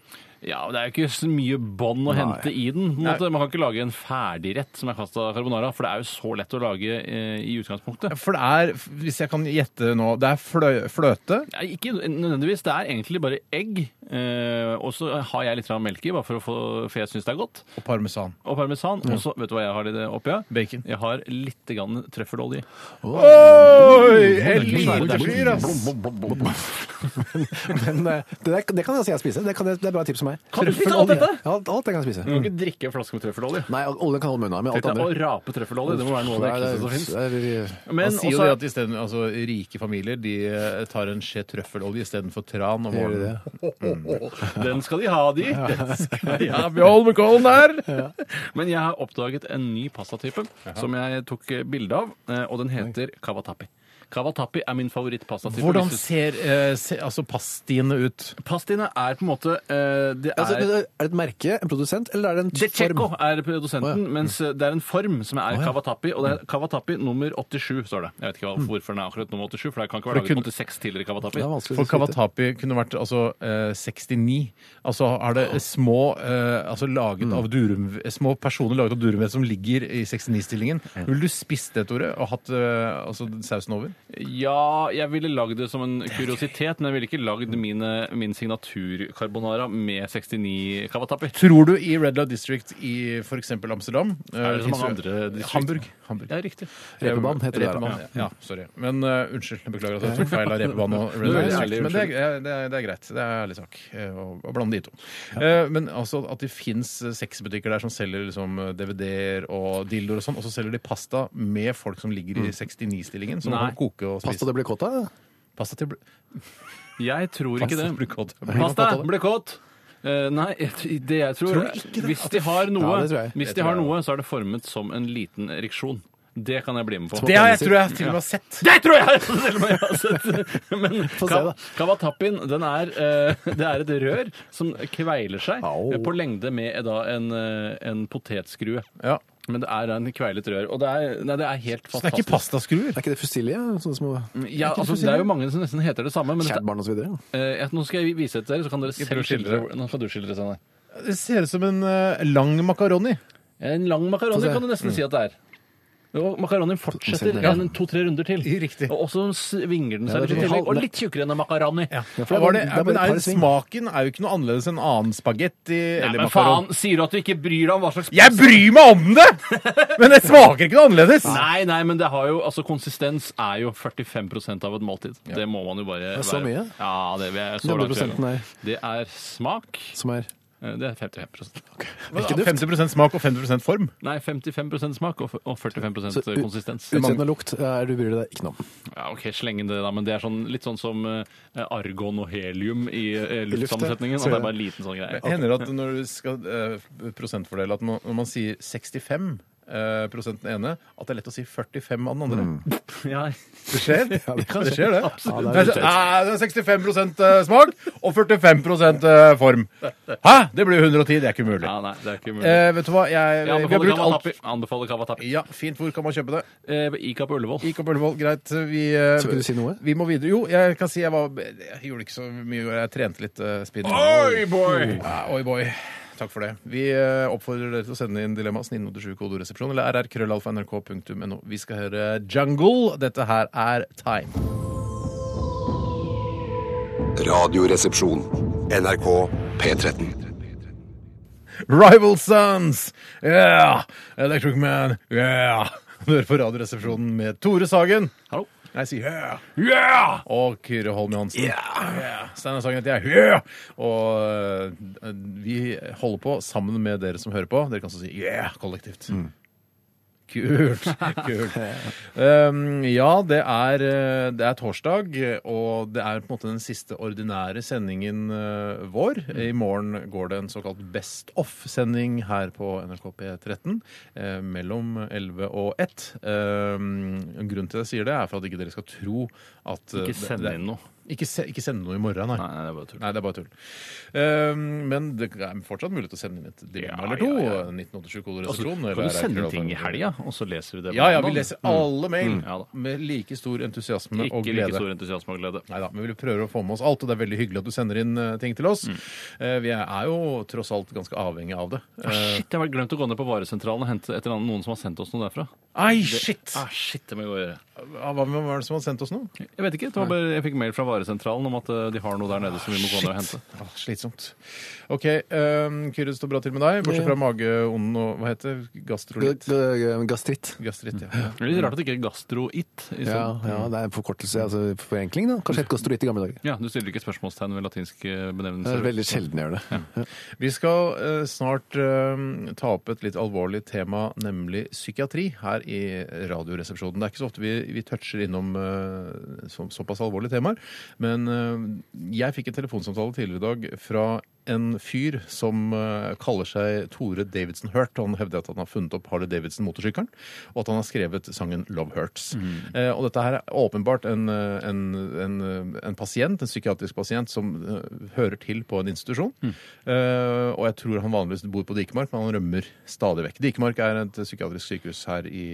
S3: Ja, men Det er jo ikke så mye bånd å hente i den. på en måte. Man kan ikke lage en ferdigrett som er pasta carbonara, for det er jo så lett å lage eh, i utgangspunktet.
S2: For det er, hvis jeg kan gjette nå, det er flø fløte.
S3: Nei, ikke nødvendigvis. Det er egentlig bare egg. Eh, og så har jeg litt grann melk i, bare for, å få, for jeg syns det er godt.
S2: Og parmesan.
S3: Og parmesan. Og så, vet du hva jeg har i det oppi? ja?
S2: Bacon.
S3: Jeg har litt grann trøffelolje.
S2: Oi! En
S3: liten fyr,
S2: ass!
S4: Men eh, det, der, det kan jeg si jeg spiser. Det, kan, jeg- det er bra tips for meg.
S3: Kan du spise alt dette?
S4: Ja, alt, alt jeg kan spise.
S3: Du
S2: Mm.
S3: kan ikke drikke en flaske med trøffelolje.
S4: Nei, oljen kan holde meg unna, men alt
S3: Tenk deg
S4: andre
S3: å rape trøffelolje. Det må være noe av det ekleste som fins. Men
S2: Han sier jo
S3: også-
S2: det at i stedet, altså, rike familier de eh, tar en skje trøffelolje istedenfor tran om
S4: Gjør de
S2: morgenen.
S3: Den skal de ha, de.
S2: Ja, Bjørn McCollen her!
S3: Men jeg har oppdaget en ny pastatype som jeg tok eh, bilde av, eh, og den heter cavatappi. Cavatappi er min favorittpastatype.
S2: Hvordan
S3: Hvis du-
S2: ser eh, se, altså pastiene ut?
S3: Pastiene er på en måte eh, Det
S4: Altså, er
S3: er
S4: det et merke, en produsent, eller er det en
S3: De Checo
S4: form?
S3: er produsenten, mens eh, det er en form som er cavatappi. Og det
S2: Mm.
S3: er cavatappi nummer 87, står det. Jeg vet ikke hva- hvorfor den er akkurat nummer 87, for det kan ikke være
S2: For det
S3: laget
S2: kunne-
S3: 86 tidligere
S4: Det
S3: cavatappi.
S4: er vanskelig
S2: For
S4: å vite.
S2: Kawatapi kunne vært altså, eh, 69. Altså er det små, eh, altså, laget av durum, små personer laget av durumvev som ligger i 69-stillingen. Vil du spist det, Tore, og hatt eh, altså, sausen over?
S3: Ja, jeg ville lagd det som en kuriositet, men jeg ville ikke lagd mine- min signatur-carbonara med 69 cavatappi.
S2: Tror du i Red Light District i f.eks. Amsterdam
S3: Er
S2: eh,
S3: det så mange
S2: finnes jo-
S3: andre distrikt?
S2: Hamburg. Hamburg.
S3: Ja, riktig.
S4: Reeperbahn heter det der, da.
S2: Reeperbahn, ja. ja, sorry. Men eh, unnskyld, jeg beklager at jeg tok feil av Reeperbahn og
S3: Du
S2: Red
S3: er
S2: Light
S3: ærlig,
S2: District. Men det
S3: unnskyld.
S2: er, det, er, det er greit. Det er ærlig sak eh, å, å blande de to. Eh, men altså at det fins sexbutikker der som selger liksom, DVD-er og dildoer og sånn, og så selger de pasta med folk som ligger i 69-stillingen, som
S3: Nei.
S2: kan koke og spise.
S4: Pasta det blir kåt av?
S2: Pasta til bl-
S3: Jeg tror ikke
S2: pasta
S3: det.
S2: blir kåt.
S3: Pasta ble kåt. Eh, nei, jeg- det jeg tror, Hvis de har noe,
S4: Ja, det tror jeg.
S3: hvis de har noe, så er det formet som en liten ereksjon. Det kan jeg bli med på.
S2: Det har jeg, tror jeg til og med har sett.
S3: Det tror jeg! Selv om jeg har sett det. Men
S4: Få se, da.
S3: kawatappin, den er eh, Det er et rør som kveiler seg
S4: Au.
S3: eh, på lengde med eh, da en, eh, en potetskrue.
S2: Ja.
S3: Men det er en kveilet rør. Og det er, nei, det er helt
S2: Så det er ikke
S3: fantastisk.
S2: pastaskruer.
S4: Er ikke det fusilje? Sånne små
S3: Ja, altså, det er jo mange som nesten heter det samme. Men dette,
S4: kjærbarn og så videre?
S3: eh, jeg- nå skal jeg vise det til dere, så kan dere
S2: prøv
S3: selv
S2: å skildre.
S3: skildre. Nå skal du skildre, Steinar.
S2: Det ser ut som en eh, lang makaroni.
S3: En lang makaroni kan du nesten si at det er. Og makaronien fortsetter
S4: Ja.
S3: en to-tre runder til.
S2: Riktig.
S3: Og så svinger den
S4: Ja,
S3: seg
S4: det
S3: litt i
S4: er
S3: tillegg.
S4: halv-
S3: Og litt tjukkere enn en makaroni.
S2: Ja,
S4: for
S2: var
S4: det er
S2: det,
S4: bare- det
S2: men
S4: er bare et
S2: er,
S4: par sving.
S2: smaken er jo ikke noe annerledes enn annen spagetti
S3: Nei,
S2: eller
S3: men
S2: makaron.
S3: faen, sier du at du ikke bryr deg om hva slags
S2: Jeg bryr meg om det! Men det smaker ikke noe annerledes.
S3: Nei, nei, men det har jo, altså konsistens er jo 45 av et måltid. Det må man jo bare
S4: er så mye.
S3: Ja, det er så langt.
S4: 100 er
S3: Det er smak.
S4: som er
S3: Eh, Det er 55
S4: Ikke duft.
S2: 50 smak og 50 form.
S3: Nei, 55 smak og f- og 45
S4: Så u-
S3: konsistens.
S4: Utseende og lukt eh, er du bryr deg ikke noe om.
S3: Ja, ok, sleng inn det da, men det er sånn, litt sånn som eh, argon og helium i eh,
S4: lufta.
S3: luftsammensetningen. At det er bare en liten sånn greie.
S2: Det hender at når du skal eh, prosentfordele, at man, når man sier 65 eh, prosent den ene, at det er lett å si 45 av den andre.
S4: Mm.
S3: Ja,
S2: Det skjer, ja, det, skjer det.
S4: Ja,
S2: det, er,
S4: det er
S2: så- Nei, det er 65 eh, smak og 45 eh, form. Hæ? Det blir 110. Det er ikke mulig.
S3: ja nei, det er ikke mulig.
S2: Eh, vet du hva? Jeg, vi har
S3: Jeg anbefaler
S2: brukt alt
S3: Kawatapi. Anbefaler Kawatapi.
S2: Ja, fint. Hvor kan man kjøpe det?
S3: Eh, Ica på Ullevål.
S2: Ikke opp Ullevål, greit. Vi, eh,
S4: Skal ikke du si noe?
S2: Vi må videre. Jo, jeg kan si jeg, var, jeg gjorde ikke så mye. Jeg trente litt uh, speed.
S3: boy!
S2: Ja, oi, boy. Takk for det. Vi eh, oppfordrer dere til å sende inn dilemma 1987 kodoresepsjon eller rrkrøllalfa.nrk.no. Vi skal høre Jungle. Dette her er Time.
S5: Radioresepsjon. NRK P13.
S2: Rival Sons! Yeah! Electric Man! Yeah! Du hører på Radioresepsjonen med Tore Sagen.
S3: Hallo.
S2: Jeg sier yeah! yeah! Og Kyrre Holm Johansen. Yeah! Steinar Sagen heter jeg. Yeah! Og eh, vi holder på sammen med dere som hører på. Dere kan også si yeah kollektivt.
S3: Mm.
S2: Kult. Kult. Um, ja, det er, eh, det er torsdag, og det er på en måte den siste ordinære sendingen eh, vår.
S3: Mm.
S2: I morgen går det en såkalt Best Off-sending her på NRK P13 eh, mellom 11 og 1. Um, grunnen til at jeg sier det, er for at ikke dere skal tro at eh,
S3: Ikke send
S2: det-
S3: inn noe.
S2: Ikke, se, ikke sende noe i morgen, nei.
S3: Nei, nei, det er bare tull.
S2: Nei, det er bare tull. Ehm, men det er fortsatt mulig til å sende inn et dilemma
S3: Ja,
S2: eller to.
S3: ja, ja.
S2: 1987 kodeord
S3: Altså,
S2: resepsjon,
S3: kan
S2: eller
S3: du sende
S2: krøllalfa-
S3: ting i helga, og så leser vi det? på
S2: Ja, ja, vi
S3: mandag?
S2: leser alle mail
S3: Mm. Ja da.
S2: med like stor entusiasme og
S3: Mm. Ikke
S2: glede.
S3: like stor entusiasme og glede.
S2: Neida, men vi prøver å få med oss alt, og det er veldig hyggelig at du sender inn eh, ting til
S3: Mm.
S2: oss. Eh, vi er jo tross alt ganske avhengig av det. Eh,
S3: Ah, shit, jeg har glemt å gå ned på varesentralen og hente et eller annet, noen som har sendt oss noe derfra.
S2: Ai, shit!
S3: Ah, shit, det må jeg gå og gjøre.
S2: Hva hva var det som hadde sendt oss nå?
S3: Jeg vet ikke. Det var bare, jeg fikk mail fra varesentralen om at eh, de har noe der nede som vi må gå ned og hente.
S2: Ah, slitsomt. OK, um, Kyrre, det står bra til med deg, bortsett fra mageånden og hva heter det? Gastrolitt?
S4: Gastritt.
S2: Gastritt, ja.
S3: Det er litt rart at det ikke er gastroit. i
S4: Ja,
S3: sånn-
S4: ja, det er en forkortelse, altså forenkling. da. Kanskje et gastritt i gamle dager.
S3: ja, Du stiller ikke spørsmålstegn ved eh, latinske
S4: Det er
S3: benevnelser?
S4: veldig sjelden jeg gjør det.
S2: Vi skal eh, snart eh, ta opp et litt alvorlig tema, nemlig psykiatri, her i Radioresepsjonen. Det er ikke så ofte vi, vi toucher innom eh, så, såpass alvorlige temaer. Men eh, jeg fikk en telefonsamtale tidligere i dag fra en fyr som eh, kaller seg Tore Davidson Hurt. Han hevder at han har funnet opp Harley Davidson-motorsykkelen, og at han har skrevet sangen 'Love Hurts'. Eh, og dette her er åpenbart en, eh, en, en, eh, en pasient, en psykiatrisk pasient, som eh, hører til på en institusjon. Eh, og jeg tror han vanligvis bor på Dikemark, men han rømmer stadig vekk. Dikemark er et psykiatrisk sykehus her i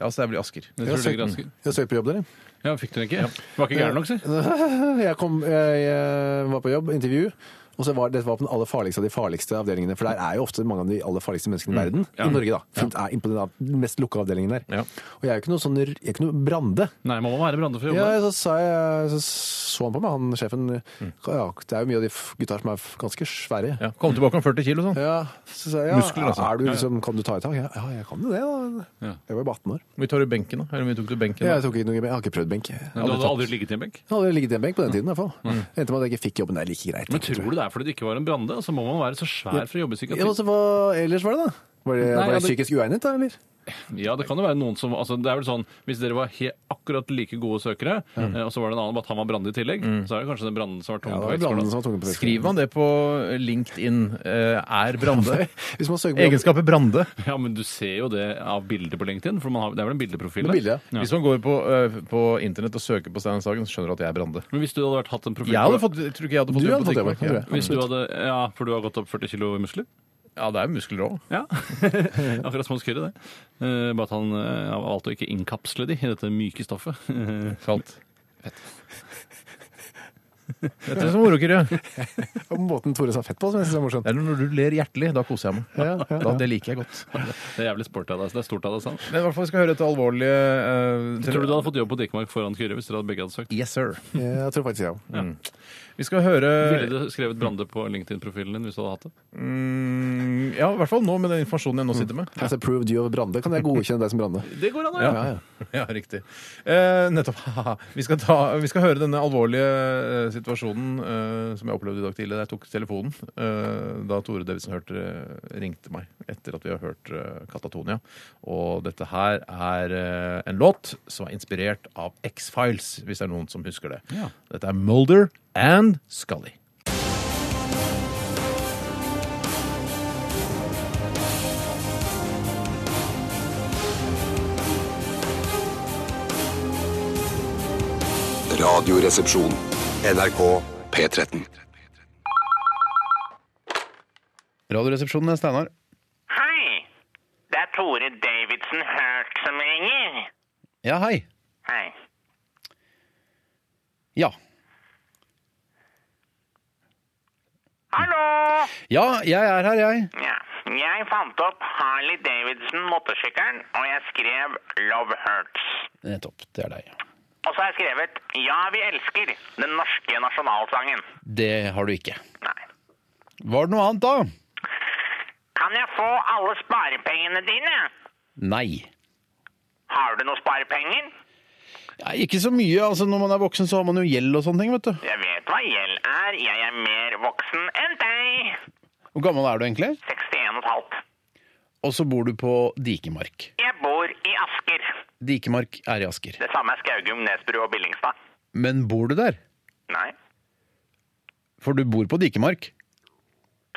S2: Altså, det er vel i Asker.
S3: Jeg tror det er ganske-
S4: Jeg søkte på jobb, dere.
S3: Ja, Fikk du den ikke? Du var ikke gæren nok, si.
S4: Jeg, kom, jeg, jeg var på jobb, intervju, og så var dette var på den aller farligste av de farligste avdelingene. For der er jo ofte mange av de aller farligste menneskene i verden.
S3: Mm. Ja.
S4: I Norge, da. Funnet er inne på den av- den mest lukka avdelingen der.
S2: Ja.
S4: Og jeg er jo ikke noe sånn jeg er ikke noe brande.
S3: Nei, man må være brande for å
S4: Ja,
S3: jobbe.
S4: så, sa jeg, så så han på meg, han sjefen.
S3: Mm.
S4: Ja, det er jo mye av de f- gutta som er f- ganske svære.
S2: Ja, kom tilbake om 40 kilo, sånn.
S4: Ja, så sa jeg, ja,
S2: Muskler, altså.
S4: Er du liksom, kan du ta i tak? Ja, ja, jeg kan jo det. da.
S3: Ja.
S4: Jeg var jo bare 18 år.
S2: Vi tar jo benken, da. Eller vi tok du benken?
S4: Jeg,
S2: Da?
S4: tok ikke noe, jeg har ikke prøvd benk. Jeg
S3: Men Du hadde aldri ligget i en benk?
S4: hadde ligget i en benk på den tiden i hvert fall. Endte med at jeg ikke fikk jobben. Det er like greit.
S3: Men tror du det er fordi du ikke var en brande? Så må man være så svær for å jobbe i
S4: Ja,
S3: psykiatri.
S4: altså, hva ellers var det, da? Var det,
S3: Nei,
S4: var
S3: ja,
S4: det
S3: det-
S4: psykisk uegnet, da? eller?
S3: Ja, det kan jo være noen som altså, Det er vel sånn Hvis dere var he, akkurat like gode søkere, eh, og så var det en annen, bare at han var brande i tillegg, så er det kanskje den branden som var tung
S4: Mm. Ja, det
S3: på
S4: var
S3: vektskåla.
S4: branden som var tungen på vekten.
S2: Skriver man det på LinkedIn? eh, er Brande?
S4: Hvis man søker på
S2: Egenskaper Brande.
S3: Ja, men du ser jo det av bildet på LinkedIn, for man har, det er vel en bildeprofil
S4: Med bilde,
S3: Ja.
S2: Hvis man går på, eh, på internett og søker på Steinar Sagen, så skjønner du at jeg er Brande.
S3: Men hvis du hadde vært hatt en profil
S2: Jeg hadde
S3: på-
S2: fått, jeg tror ikke jeg hadde fått
S4: Du
S2: jobb
S4: hadde
S2: på
S4: fått jobb,
S2: TikTok.
S4: jeg tror det.
S3: hvis du hadde, Ja, for du har gått opp 40 kilo i muskler?
S2: Ja, det er jo muskler òg.
S3: Ja. Akkurat som hos Kyrre, det. Eh, bare at han eh, har valgt å ikke innkapsle de i dette myke stoffet.
S2: Salt. Fett. Dette er så moro, Kyrre. Det
S4: Og måten Tore sa fett på, som jeg synes er morsomt.
S2: er når du ler hjertelig. Da koser jeg meg.
S4: Ja,
S2: Da,
S4: ja, ja.
S2: det liker jeg godt.
S3: det er jævlig sporty av deg. så Det er stort av deg, sant?
S2: Men i hvert fall skal vi høre et alvorlig eh,
S3: Tror du du hadde fått jobb på Dikemark foran Kyrre hvis dere hadde begge hadde søkt?
S2: Yes, sir.
S4: Eh, Jeg tror faktisk jeg òg.
S2: Vi skal høre
S3: Ville du skrevet Brande på LinkedIn-profilen din hvis du hadde hatt det?
S2: mm, Ja, i hvert fall nå med den informasjonen jeg nå sitter med.
S4: Has approved you of Brande. Kan jeg godkjenne deg som Brande?
S3: Det går an å
S2: Ja,
S3: gjøre.
S2: ja. riktig. Eh, nettopp. vi, skal ta, vi skal høre denne alvorlige eh, situasjonen eh, som jeg opplevde i dag tidlig. da Jeg tok telefonen eh, da Tore Davidsen hørte, eh, ringte meg etter at vi har hørt eh, Katatonia. Og dette her er eh, en låt som er inspirert av X-Files, hvis det er noen som husker det.
S3: Ja.
S2: Dette er Mulder and Scully.
S5: Radioresepsjon. NRK P13.
S2: Radioresepsjonen er Steinar.
S6: Hei, det er Tore Davidsen Hurt som ringer.
S2: Ja, hei.
S6: Hei.
S2: Ja.
S6: Hallo!
S2: Ja, jeg er her, jeg.
S6: Ja, jeg fant opp Harley Davidson motorsykkelen, og jeg skrev Love Hurts.
S2: Nettopp. Det er deg.
S6: Og så har jeg skrevet Ja, vi elsker den norske nasjonalsangen.
S2: Det har du ikke.
S6: Nei.
S2: Var det noe annet, da?
S6: Kan jeg få alle sparepengene dine?
S2: Nei.
S6: Har du noen sparepenger?
S7: Ja, ikke så mye. altså Når man er voksen, så har man jo gjeld og sånne ting. vet du.
S6: Jeg vet hva gjeld er. Jeg er mer voksen enn deg.
S7: Hvor gammel er du egentlig?
S6: 61 og et halvt.
S7: Og så bor du på Dikemark.
S6: Jeg bor i Asker.
S7: Dikemark er i Asker.
S6: Det samme er Skaugum, Nesbru og Billingstad.
S7: Men bor du der?
S6: Nei.
S7: For du bor på Dikemark?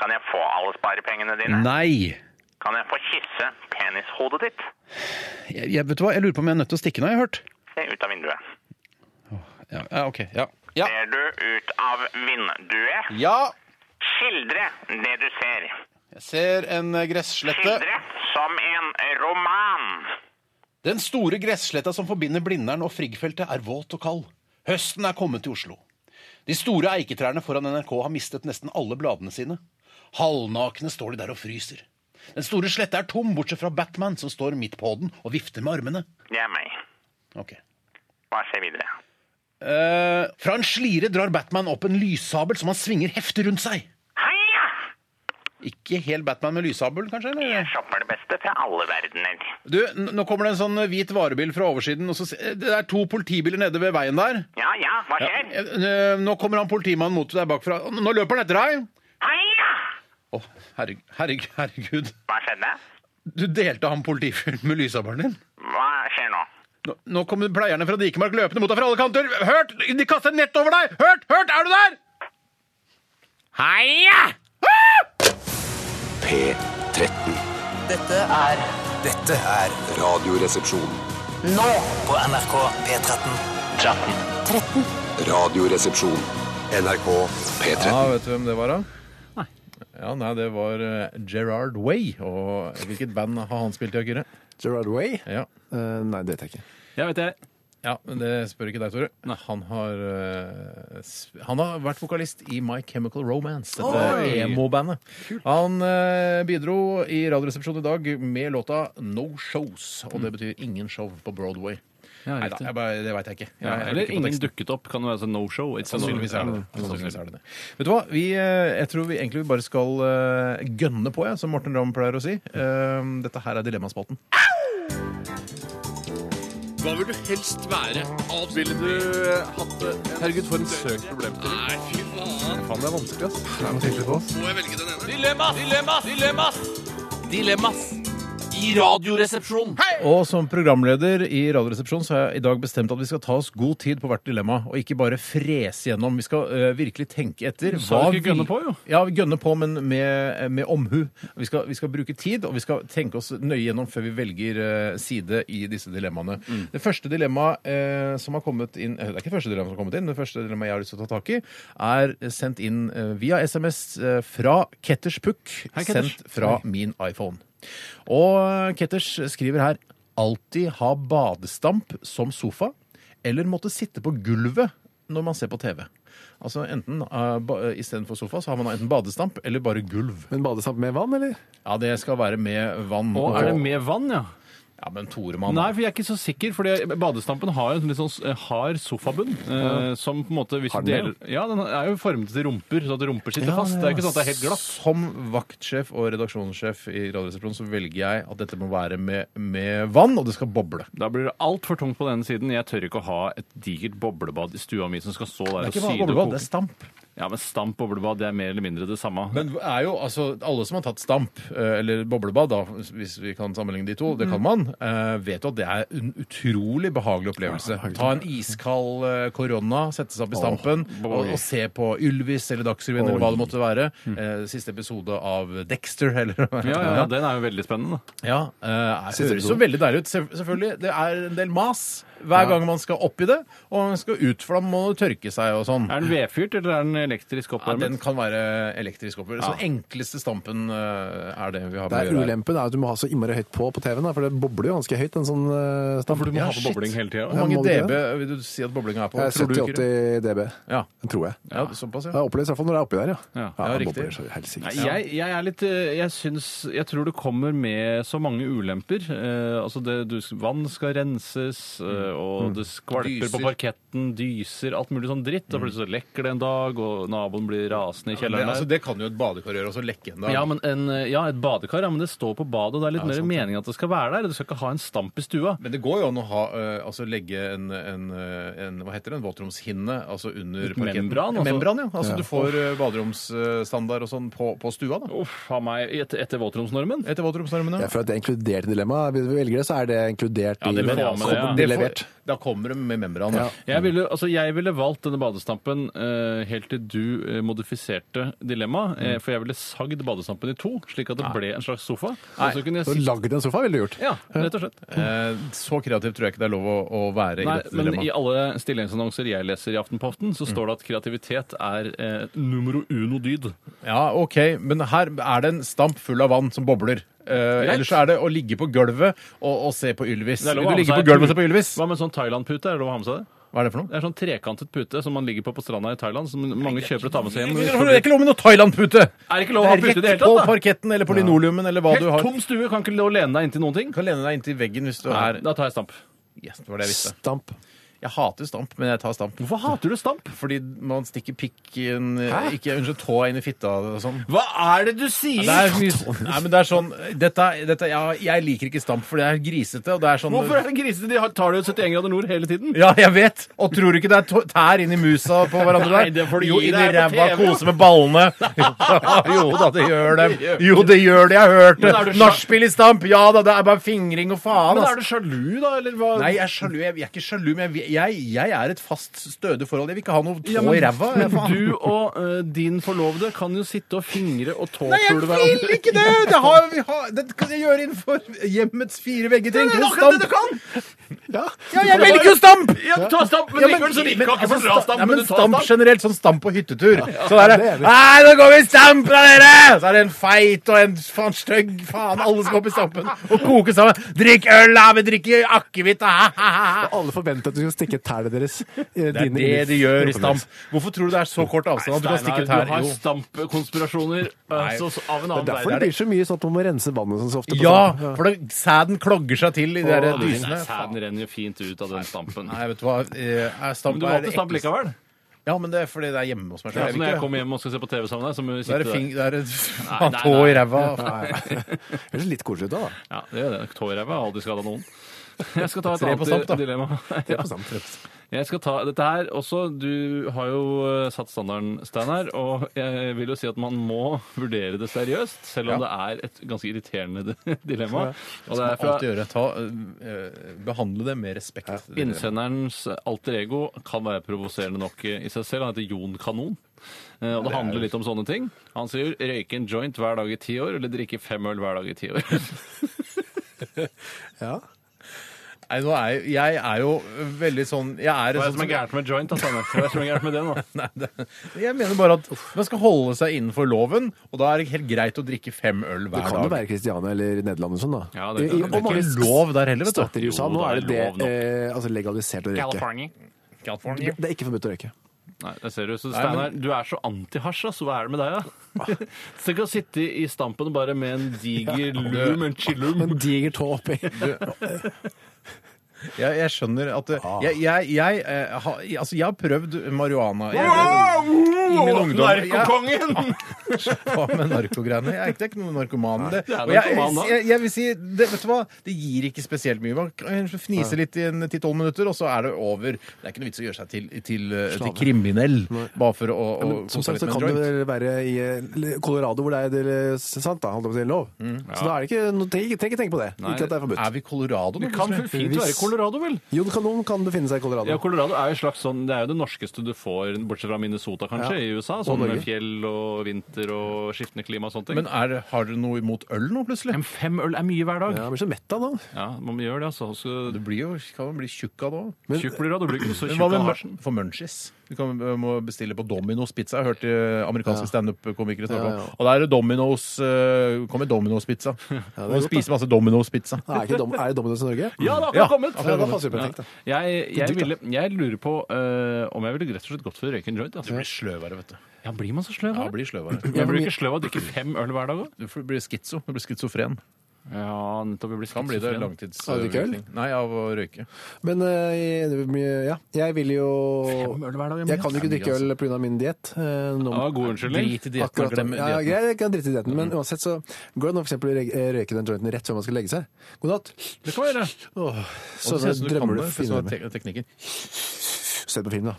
S6: Kan jeg få alle sparepengene dine?
S7: Nei!
S6: Kan jeg få kysse penishodet ditt?
S7: Jeg, jeg, vet du hva? jeg lurer på om jeg er nødt til å stikke nå, jeg har hørt.
S6: Se ut av vinduet.
S7: Ja, ja ok. Ja. Ja.
S6: Ser du ut av vinduet?
S7: ja!
S6: Skildre det du ser.
S7: Jeg ser en eh, gresslette.
S6: Skildre som en roman.
S7: Den store gressletta som forbinder Blindern og Friggfeltet, er våt og kald. Høsten er kommet til Oslo. De store eiketrærne foran NRK har mistet nesten alle bladene sine. Halvnakne står de der og fryser. Den store sletta er tom, bortsett fra Batman, som står midt på den og vifter med armene.
S6: Det er meg.
S7: Ok.
S6: Hva skjer videre?
S7: Eh, fra en slire drar Batman opp en lyssabel som han svinger heftig rundt seg.
S6: Heia!
S7: Ikke helt Batman med lyssabel, kanskje? eller?
S6: Jeg shopper det beste fra alle verdener.
S7: Du, n- nå kommer det en sånn hvit varebil fra oversiden, og så se- eh, det er to politibiler nede ved veien der.
S6: Ja, ja, hva skjer?
S7: Ja, eh, nå kommer han politimannen mot deg bakfra. Nå løper han etter deg!
S6: Heia!
S7: Å, herregud, herregud, herregud.
S6: Hva skjedde?
S7: Du delte han politifyren med lysabelen din.
S6: Hva skjer nå?
S7: Nå, nå kommer pleierne fra Dikemark løpende mot deg fra alle kanter. Hørt! De kaster nett over deg! Hørt! Hørt! Er du der?
S6: Heia!
S5: P13.
S8: Dette er
S9: Dette er
S5: Radioresepsjon.
S8: nå på NRK P13.
S5: Radioresepsjon. NRK P13.
S2: Ja, vet du hvem det var, da? Ja, nei, Det var eh, Gerard Way. Og hvilket band har han spilt i, Akire?
S4: Gerard Way?
S2: Ja.
S4: Eh, nei, det vet jeg ikke.
S3: Jeg vet det.
S2: ja, men det spør ikke deg, Tore. Han har, eh, sp- han har vært vokalist i My Chemical Romance, dette emo-bandet. Han eh, bidro i Radioresepsjonen i dag med låta No Shows, og det betyr ingen show på Broadway.
S3: Ja,
S2: Nei da,
S3: riktig.
S2: jeg bare, Mm. det veit jeg ikke. Jeg,
S3: Ja,
S2: jeg
S3: eller
S2: klikker på
S3: ingen
S2: teksten.
S3: dukket opp. Kan det være sånn no show? It's a no-
S2: Sannsynligvis er det det.
S3: Ja,
S2: Sannsynligvis er det det. Vet du hva? Vi, eh, jeg tror vi egentlig bare skal eh, gønne på, jeg, som Morten Ramm pleier å si. Eh, Dette her er Dilemmaspalten. Og som programleder i Radioresepsjonen så har jeg i dag bestemt at vi skal ta oss god tid på hvert dilemma, og ikke bare frese gjennom. Vi skal eh, virkelig tenke etter.
S3: sa du
S2: hva
S3: ikke gønne
S2: vi-
S3: på, jo.
S2: Ja, vi gønner på, men med, med omhu. Vi skal, vi skal bruke tid, og vi skal tenke oss nøye gjennom før vi velger eh, side i disse dilemmaene.
S3: Mm.
S2: Det første dilemmaet eh, som har kommet inn eh, Det er ikke det første dilemma som har kommet inn, det første dilemmaet jeg har lyst til å ta tak i, er sendt inn eh, via SMS eh, fra Ketters Pukk,
S3: Hei, Ketters.
S2: sendt fra min iPhone. Og eh, Ketters skriver her alltid ha badestamp som sofa, eller måtte sitte på gulvet når man ser på TV. Altså enten eh, ba- eh, Istedenfor sofa så har man enten badestamp eller bare gulv.
S4: Men badestamp med vann, eller?
S2: Ja, Det skal være med vann.
S3: Og er det med vann, ja?
S2: Ja, Men Toremann
S3: Nei, for jeg er ikke så sikker, fordi badestampen har jo en litt sånn s- hard sofabunn. Eh, som på en måte hvis du
S4: den det,
S3: deler Ja, den er jo formet til rumper, så at rumper sitter
S2: Ja,
S3: fast. Det er ikke sånn at det er helt glatt.
S2: Som vaktsjef og redaksjonssjef i Radioresepsjonen så velger jeg at dette må være med, med vann, og det skal boble.
S3: Da blir det altfor tungt på denne siden. Jeg tør ikke å ha et digert boblebad i stua mi som skal stå der
S2: Det
S3: og
S2: er ikke
S3: syde
S2: bare
S3: og
S2: boblebad, det
S3: koke.
S2: er stamp.
S3: Ja, men stamp boblebad, det er mer eller mindre det samme.
S2: Men er jo, altså, alle som har tatt stamp, eh, eller boblebad, da, hvis vi kan sammenligne de to, det
S3: Mhm.
S2: kan man, eh, vet jo at det er en utrolig behagelig opplevelse. Ta en iskald eh, korona, sette seg opp i stampen, og, og se på Ylvis eller Dagsrevyen eller hva det måtte være. Eh, Siste episode av Dexter, eller
S3: Mm. ja, ja, ja, den er jo veldig spennende. da.
S2: Ja, eh, det høres jo veldig deilig ut. Selv- Selvfølgelig, det er en del mas hver gang man skal opp i det, og man skal ut, for da må det tørke seg og sånn.
S3: Er den vedfyrt, eller er den elektrisk
S2: Ja, den
S3: oppvarmet?
S2: kan være elektrisk oppover. Så den enkleste stampen eh, er det vi har
S4: Det
S2: med å
S4: er
S2: gjøre her.
S4: Ulempen er at du må ha så innmari høyt på på TV-en, da, for det bobler jo ganske høyt. en sånn eh, stamp.
S3: For du må
S2: Ja,
S3: ha på
S2: shit.
S3: bobling hele
S2: Hvor
S3: tida.
S4: Ja.
S2: mange
S4: må du
S2: dB vil du si at boblinga er på?
S4: Det
S2: Tror
S4: er
S2: du ikke det?
S4: 70-80 dB,
S2: Ja.
S4: tror jeg.
S2: ja, såpass,
S4: Det
S2: ja.
S4: har opplevd i hvert fall når det er oppi der, ja.
S3: Ja.
S2: Ja,
S4: det
S2: riktig.
S4: bobler så helsike.
S3: Nei, jeg, jeg er litt eh, Jeg syns Jeg tror det kommer med så mange ulemper. Eh, altså det du, Vann skal renses,
S2: Mm.
S3: eh, og det skvalper
S2: Dyser.
S3: på parketten, dyser, alt mulig sånn dritt. Og plutselig så lekker det en dag, og og naboen blir rasende i
S2: Men,
S3: kjelleren.
S2: altså,
S3: der.
S2: det kan jo et badekar gjøre, også lekke en dag.
S3: Ja, men en, eh, ja, et badekar, ja, men det står på badet, og det er litt mer meningen at det skal være der. Du skal ikke ha en stamp i stua.
S2: Men det går jo an å ha, eh, altså legge en, en, eh, en hva heter det, en våtromshinne altså under
S3: Et membran, altså.
S2: Membran, ja. Altså du får eh, baderomsstandard og sånn på, på stua, da.
S3: Uff a meg. Etter, etter våtromsnormen?
S2: Etter våtromsnormene.
S4: Jeg føler at det er inkludert i dilemmaet. Hvis vi velger det, så er det inkludert
S3: Ja,
S4: i
S3: det altså. får
S4: men-
S2: Det
S3: man med det, ja.
S4: kommer det
S2: får-
S4: levert.
S2: Da kommer de med membran. Ja.
S3: Jeg ville, altså, jeg ville valgt denne badestampen eh, helt til du eh, modifiserte dilemmaet. eh, for jeg ville sagd badestampen i to, slik at det ble en slags sofa. Og så kunne jeg
S4: Så
S3: sitte
S4: lagd en sofa ville du gjort.
S3: Ja, rett og slett.
S2: Eh, så kreativt tror jeg ikke det er lov å, å være
S3: Nei,
S2: i dette
S3: men i
S2: dilemmaet.
S3: alle stillingsannonser jeg leser i Aftenposten, så står det at kreativitet er eh, numero uno dyd.
S2: Ja, OK, men her er det en stamp full av vann som bobler. Eh, ellers så er det å ligge på gulvet og, og se på Ylvis.
S3: Det er
S2: Vil du
S3: lov å ha med
S2: ligge på
S3: seg-
S2: gulvet og se på Ylvis?
S3: Hva med sånn Thailand-pute? Er det lov å ha med seg det?
S2: Hva er det for
S3: Det
S2: noe?
S3: er sånn trekantet pute som man ligger på på stranda i Thailand, som mange kjøper og tar med seg hjem.
S2: Det er ikke lov med noe Thailand-pute!
S3: Er det ikke lov å ha pute i det hele
S2: Rett på
S3: tatt, da?
S2: parketten eller på linoleumen eller hva du
S3: Helt
S2: har.
S3: tom stue, kan ikke lene deg inntil noen ting.
S2: Du kan lene deg inntil veggen hvis du er
S3: Da tar jeg stamp.
S2: yes, det var det jeg visste.
S4: Stamp.
S2: Jeg hater stamp, men jeg tar stamp.
S3: Hvorfor hater du stamp?
S2: Fordi man stikker pikken Ikke unnskyld, tåa inn i fitta og sånn.
S3: Hva er det du sier?
S2: Det er, mye- nei, men det er sånn dette, dette, ja, Jeg liker ikke stamp, for det er grisete. Og det er sånn
S3: Hvorfor er det grisete? De har- tar det jo 71 grader nord hele tiden.
S2: Ja, jeg vet! Og tror du ikke det er tå- tær inni musa på hverandre der?
S3: Nei, det får du
S2: jo,
S3: gi
S2: inni
S3: deg på
S2: ræva,
S3: TV, jo.
S2: kose med ballene. Jo da, det gjør det. Jo, det gjør det, jeg har hørt
S3: Men er du
S2: det.
S3: sja-
S2: Nachspiel i stamp! Ja da, det er bare fingring og faen,
S3: Men
S2: ass.
S3: er du sjalu, da? Eller hva?
S2: Nei, jeg er sjalu. Jeg, jeg er ikke sjalu, men jeg, jeg, jeg er et fast, stødig forhold. Jeg vil ikke ha noe tå
S3: Ja, men-
S2: i ræva. jeg,
S3: Men
S2: faen.
S3: du og eh, din forlovede kan jo sitte og fingre og
S2: Nei, jeg
S3: tåpule
S2: vil
S3: hverandre.
S2: ikke det! Det, har, vi har, det kan jeg gjøre innenfor hjemmets fire vegger. Trenger ikke noe stamp.
S3: kan!
S2: Ja, jeg velger jo stamp!
S3: Ja, du tar stamp, men
S2: Ja,
S3: likevel så liker du ikke
S2: altså,
S3: for bra
S2: sta-
S3: stamp.
S2: ja, men
S3: du tar
S2: stamp generelt, sånn stamp på hyttetur. Så
S4: Ja,
S2: er
S4: det
S2: det
S4: er vi.
S2: Nei, nå går vi i stamp da, dere! Så er det en feit og en faen stygg faen. Alle skal opp i stampen og koke sammen. Drikk øl, da! Vi drikker akevitt, da!
S4: Alle forventer at du skal stikke tærne deres.
S2: Det er det de gjør i stamp. Hvorfor tror du det er så kort avstand at du kan stikke
S3: Steinar,
S2: tær?
S3: du har
S2: Jo.
S3: stampkonspirasjoner
S2: Nei.
S3: altså, så- av en annen
S4: Derfor det
S3: verden.
S4: blir så mye sånn at man må rense vannet sånn så ofte. på
S2: Ja,
S4: stamp.
S2: for det, sæden klogger seg til i de der
S4: Åh, det
S2: dysene.
S3: Sæden renner jo fint ut av den stampen.
S2: Nei, vet du hva. Eh, er Stamp
S3: Men du
S2: er
S3: valgte
S2: det
S3: stamp
S2: ekleste-
S3: likevel?
S2: Ja, men det er fordi det er hjemme hos meg selv.
S3: Ja, så
S2: Jeg vil
S3: når jeg
S2: ikke-
S3: kommer hjem og skal se på TV sammen med deg, så må
S2: Da
S3: vi
S2: er
S3: sitte
S2: det fing...
S3: der.
S2: Da er det
S3: Nei, nei,
S2: tå i
S3: nei.
S2: ræva.
S4: Høres litt koselig ut da, da.
S3: Ja, det gjør det. Tåræva har aldri skada noen. Jeg skal ta et
S2: Tre på stamp,
S3: annet
S2: da.
S3: dilemma.
S4: Det er på stamp.
S3: Jeg skal ta dette her også. Du har jo eh, satt standarden, Steinar, og jeg vil jo si at man må vurdere det seriøst, selv om det er et ganske irriterende dilemma. Og det er fra
S2: Alt å gjøre. Ta, eh, behandle det med respekt.
S3: Innsenderens alter ego kan være provoserende nok i seg selv. Han heter Jon Kanon. Eh, Og det handler litt om sånne ting. Han sier 'røyke en joint hver dag i ti år' eller 'drikke fem øl hver dag i ti år'.
S4: Ja.
S2: Nei, nå er jeg, jeg er jo veldig sånn Jeg er,
S3: Hva er det
S2: sånn
S3: som er gærent med joint? da, Steinar? Hva er det som er gærent med det nå?
S2: Nei, det, jeg mener bare at man skal holde seg innenfor loven, og da er det helt greit å drikke fem øl
S4: Det
S2: hver
S4: kan jo
S2: dag.
S4: være Kristiania eller Nederland og sånn, da.
S3: Ja, det kan-
S4: I-
S3: det
S4: i-
S3: er
S4: og mange
S2: ikke lov der heller, vet du.
S4: Stater i USA,
S3: Jo,
S4: nå
S3: det er
S4: er det det,
S3: lov nok.
S4: eh, altså legalisert å røyke.
S2: California.
S4: Det er ikke forbudt å røyke.
S3: Nei, Ah. det ser du. Så Steinar, du er så anti-hasj, ass. Hva er det med deg, da? Tenk å sitte i stampen bare med en diger lum, en chillum.
S4: Men diger tå oppi.
S2: Jeg, jeg skjønner at det, jeg, jeg, jeg, eh, ha, altså, jeg har prøvd marihuana jeg, i min ungdom. Jeg-
S3: Narkokongen!
S2: Hva med narkogreiene? Jeg er ikke- det er ikke noen narkoman. Det,
S3: er
S2: og jeg,
S3: narkoman, da.
S2: jeg, jeg vil si, det, vet du hva? Det gir ikke spesielt mye. Man kan fnise litt i en 10-12 minutter, og så er det over. Det er ikke noe vits å gjøre seg til, til, eh, til kriminell bare for å, å
S4: Som
S2: kose
S4: sagt
S2: litt med
S4: så
S2: en
S4: kan det
S2: joint.
S4: vel være i eh, Colorado hvor det er del- sant, da, holdt jeg på å si, lov. Så da er det ikke noe- Trenger ikke trenger ikke tenke på det. Ikke at det er
S2: Er
S4: forbudt.
S2: vi i Colorado nå?
S3: Det Ah, kan vel fint være i Colorado, vel?
S4: Jon Kanon kan befinne seg i
S3: Ja,
S4: Colorado.
S3: Colorado er jo et slags sånn, Det er jo det norskeste du får, bortsett fra Minnesota, kanskje,
S4: Ja.
S3: i USA.
S4: Og
S3: Sånn med
S4: Norge.
S3: fjell og vinter og skiftende klima og sånne ting.
S2: Men er, det- har dere noe imot øl nå, plutselig?
S3: Men fem øl er mye hver dag.
S4: Ja, jeg blir så mett av nå.
S3: Ja, man gjør det, altså. Så
S2: Du blir jo, kan jo bli tjukk av det òg.
S3: tjukk blir du av. Du blir ikke så
S2: Men
S3: tjukk
S2: hva
S3: av
S2: med
S3: hasjen.
S2: for munchies? Du kan, eh, må bestille på Domino's pizza. Jeg hørte eh, amerikanske standup-komikere snakke om Og da er det Domino's eh, Kommer Domino's pizza. Og spise masse Domino's pizza.
S4: Er, ikke dom, er det Dominus i Norge?
S3: Ja, det har
S2: Ja,
S3: akkurat kommet!
S4: Ja, da passer vi på en ting, da.
S3: Jeg, jeg, ville, jeg lurer på eh, om jeg ville rett og slett gått for å røyke en joint. Altså.
S2: blir sløvere, vet du.
S3: Ja, blir man så sløv
S2: Ja,
S3: av det?
S2: blir sløvere.
S3: Jeg blir ikke sløv av å drikke fem øl hver dag òg.
S2: Du får- blir schizo. Du blir schizofren.
S3: Ja, nettopp. Jeg blir
S2: Kan bli det
S3: schizofren.
S4: Av drikke øl?
S2: langtidsvirkning. Nei, av å røyke.
S4: Men eh, jeg- ja, jeg vil jo
S3: Fem øl hver dag er mye.
S4: Jeg kan jo ikke
S2: Det er mye,
S4: drikke øl pga. min diett. eh, nå-
S3: Ja, god unnskyldning.
S2: Drit i dietten og
S4: Akkurat,
S2: glem
S4: ja, ja,
S2: dietten.
S4: greit, jeg kan drite i dietten, men uansett så går det an å for eksempel å re- røyke den jointen rett før man skal legge seg. God natt.
S2: Det kan være.
S4: Åh,
S2: Og
S4: så
S2: det ser ut som du kan
S4: drømmer du
S2: det. for
S4: finner
S2: sånn er tek- teknikken.
S4: Se på film, da.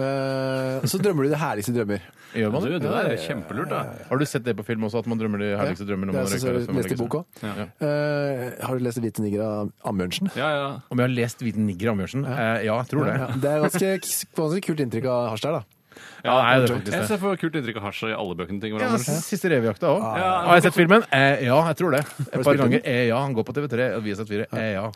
S4: Eh, så drømmer du de herligste drømmer.
S2: Gjør man
S3: Du, det
S2: det?
S3: der er kjempelurt, da.
S2: Har du sett det på film også, at man drømmer de herligste drømmene?
S4: Det
S2: når
S4: er
S2: man
S4: sånn
S2: røyker rett
S4: som
S2: før man
S4: jeg leste i
S2: legger seg?
S4: boka. Eh, har du lest 'Hvite nigger' av Ambjørnsen?
S3: Ja, ja.
S2: Om jeg har lest 'Hviten nigger' Ambjørnsen? Ja. Eh, ja, jeg tror det.
S4: Ja, det er ganske, ganske kult inntrykk av hasj der, da.
S2: Ja, det er det
S3: Jeg
S2: faktisk det.
S3: ser for kult inntrykk av hasj i alle bøkene. til
S2: Ja,
S3: hverandre.
S2: siste revejakta òg.
S3: Ja.
S2: Har jeg sett filmen? Eh, ja, jeg tror det. Et par
S4: spilt den?
S2: ganger. Eh, ja, han går på TV3. og Vi har sett fire. Eh, ja.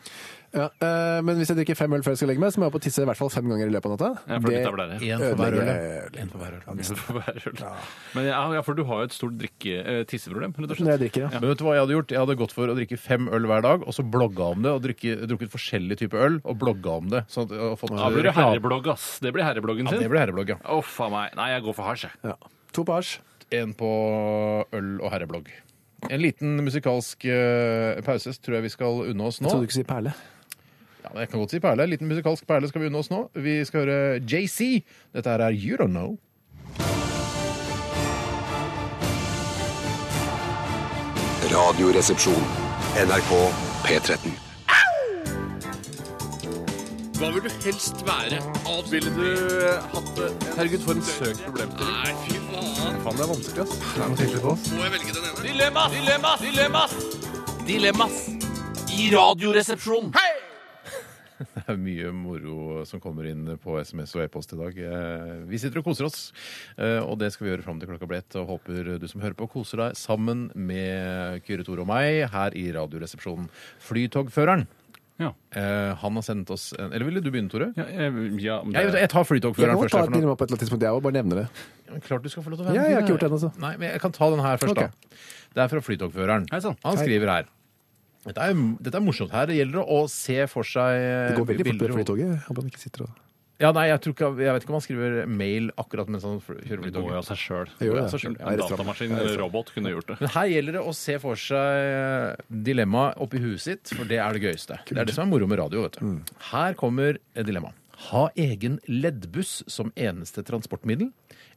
S4: Ja, eh, men hvis jeg drikker fem øl før jeg skal legge meg, så må jeg opp og tisse i hvert fall fem ganger i løpet av natta.
S3: Jeg får litt av det der.
S2: En for hver øl. ja.
S4: øl.
S2: En for hver øl.
S3: For hver øl. Men ja, ja, for du har jo et stort drikke, eh, tisseproblem, rett og
S4: Når jeg
S3: slett.
S4: drikker, ja.
S2: Men vet du hva jeg hadde gjort? Jeg hadde gått for å drikke fem øl hver dag, og så blogga om det, og drikke, drukket forskjellige typer øl, og blogga om det. Sånn at, og fått
S3: Da blir det herreblogg, ass. Det blir herrebloggen
S2: Ja, det
S3: sin.
S2: blir herreblogg, ja.
S3: Å, faen meg. Nei, jeg går for hasj, jeg.
S4: Ja. To på hasj.
S2: En på øl og herreblogg. En liten musikalsk eh, pause tror jeg vi skal unne oss nå.
S4: Jeg trodde du ikke skulle si perle.
S2: Ja, men jeg kan godt si perle. En liten musikalsk perle skal vi unne oss nå. Vi skal høre JC. Dette her er You Don't Know.
S5: Radioresepsjon. NRK P13.
S8: Dilemmas! Dilemmas! Dilemmas! Dilemmas! I radioresepsjonen.
S2: Det er mye moro som kommer inn på SMS og e-post i dag. Eh, Vi sitter og koser oss, eh, og det skal vi gjøre fram til klokka blir ett. Og håper du som hører på, koser deg sammen med Kyrre Tore og meg her i Radioresepsjonen. Flytogføreren,
S3: Ja.
S2: eh, han har sendt oss en Eller ville du begynne, Tore?
S3: Ja, jeg- ja, men
S2: Jeg,
S3: det-
S2: jeg tar
S4: Jeg
S2: flytogføreren
S4: må
S2: først.
S4: ta
S2: her,
S4: et
S2: for nå-
S4: dilemma på et eller annet tidspunkt, jeg òg. Bare nevner det.
S2: Men Klart du skal få lov til å være
S4: Ja,
S2: med.
S4: jeg har ikke gjort det ennå, så.
S2: Nei, men jeg kan ta den her først,
S4: Ok.
S2: da. Det er fra Flytogføreren.
S3: Hei sann.
S2: Han skriver her. Dette er, dette er morsomt. Her gjelder det å se for seg eh,
S4: Det går veldig fort
S2: bilder
S4: på
S2: og-
S4: flytoget. Jeg Håper han ikke sitter og
S2: Ja, nei, jeg, tror ikke, jeg vet ikke om han skriver mail akkurat mens han fl- kjører
S3: Det går jo
S2: flytoget.
S3: av seg sjøl.
S4: Jeg gjør
S2: Ja,
S4: det.
S2: så skjønner
S4: Jeg er
S3: En
S4: rett frem.
S3: datamaskin eller robot kunne gjort det.
S2: Men her gjelder det å se for seg dilemmaet oppi huet sitt, for det er det gøyeste. Det er det som er moro med radio, vet du. Her kommer dilemmaet. Ha egen leddbuss som eneste transportmiddel,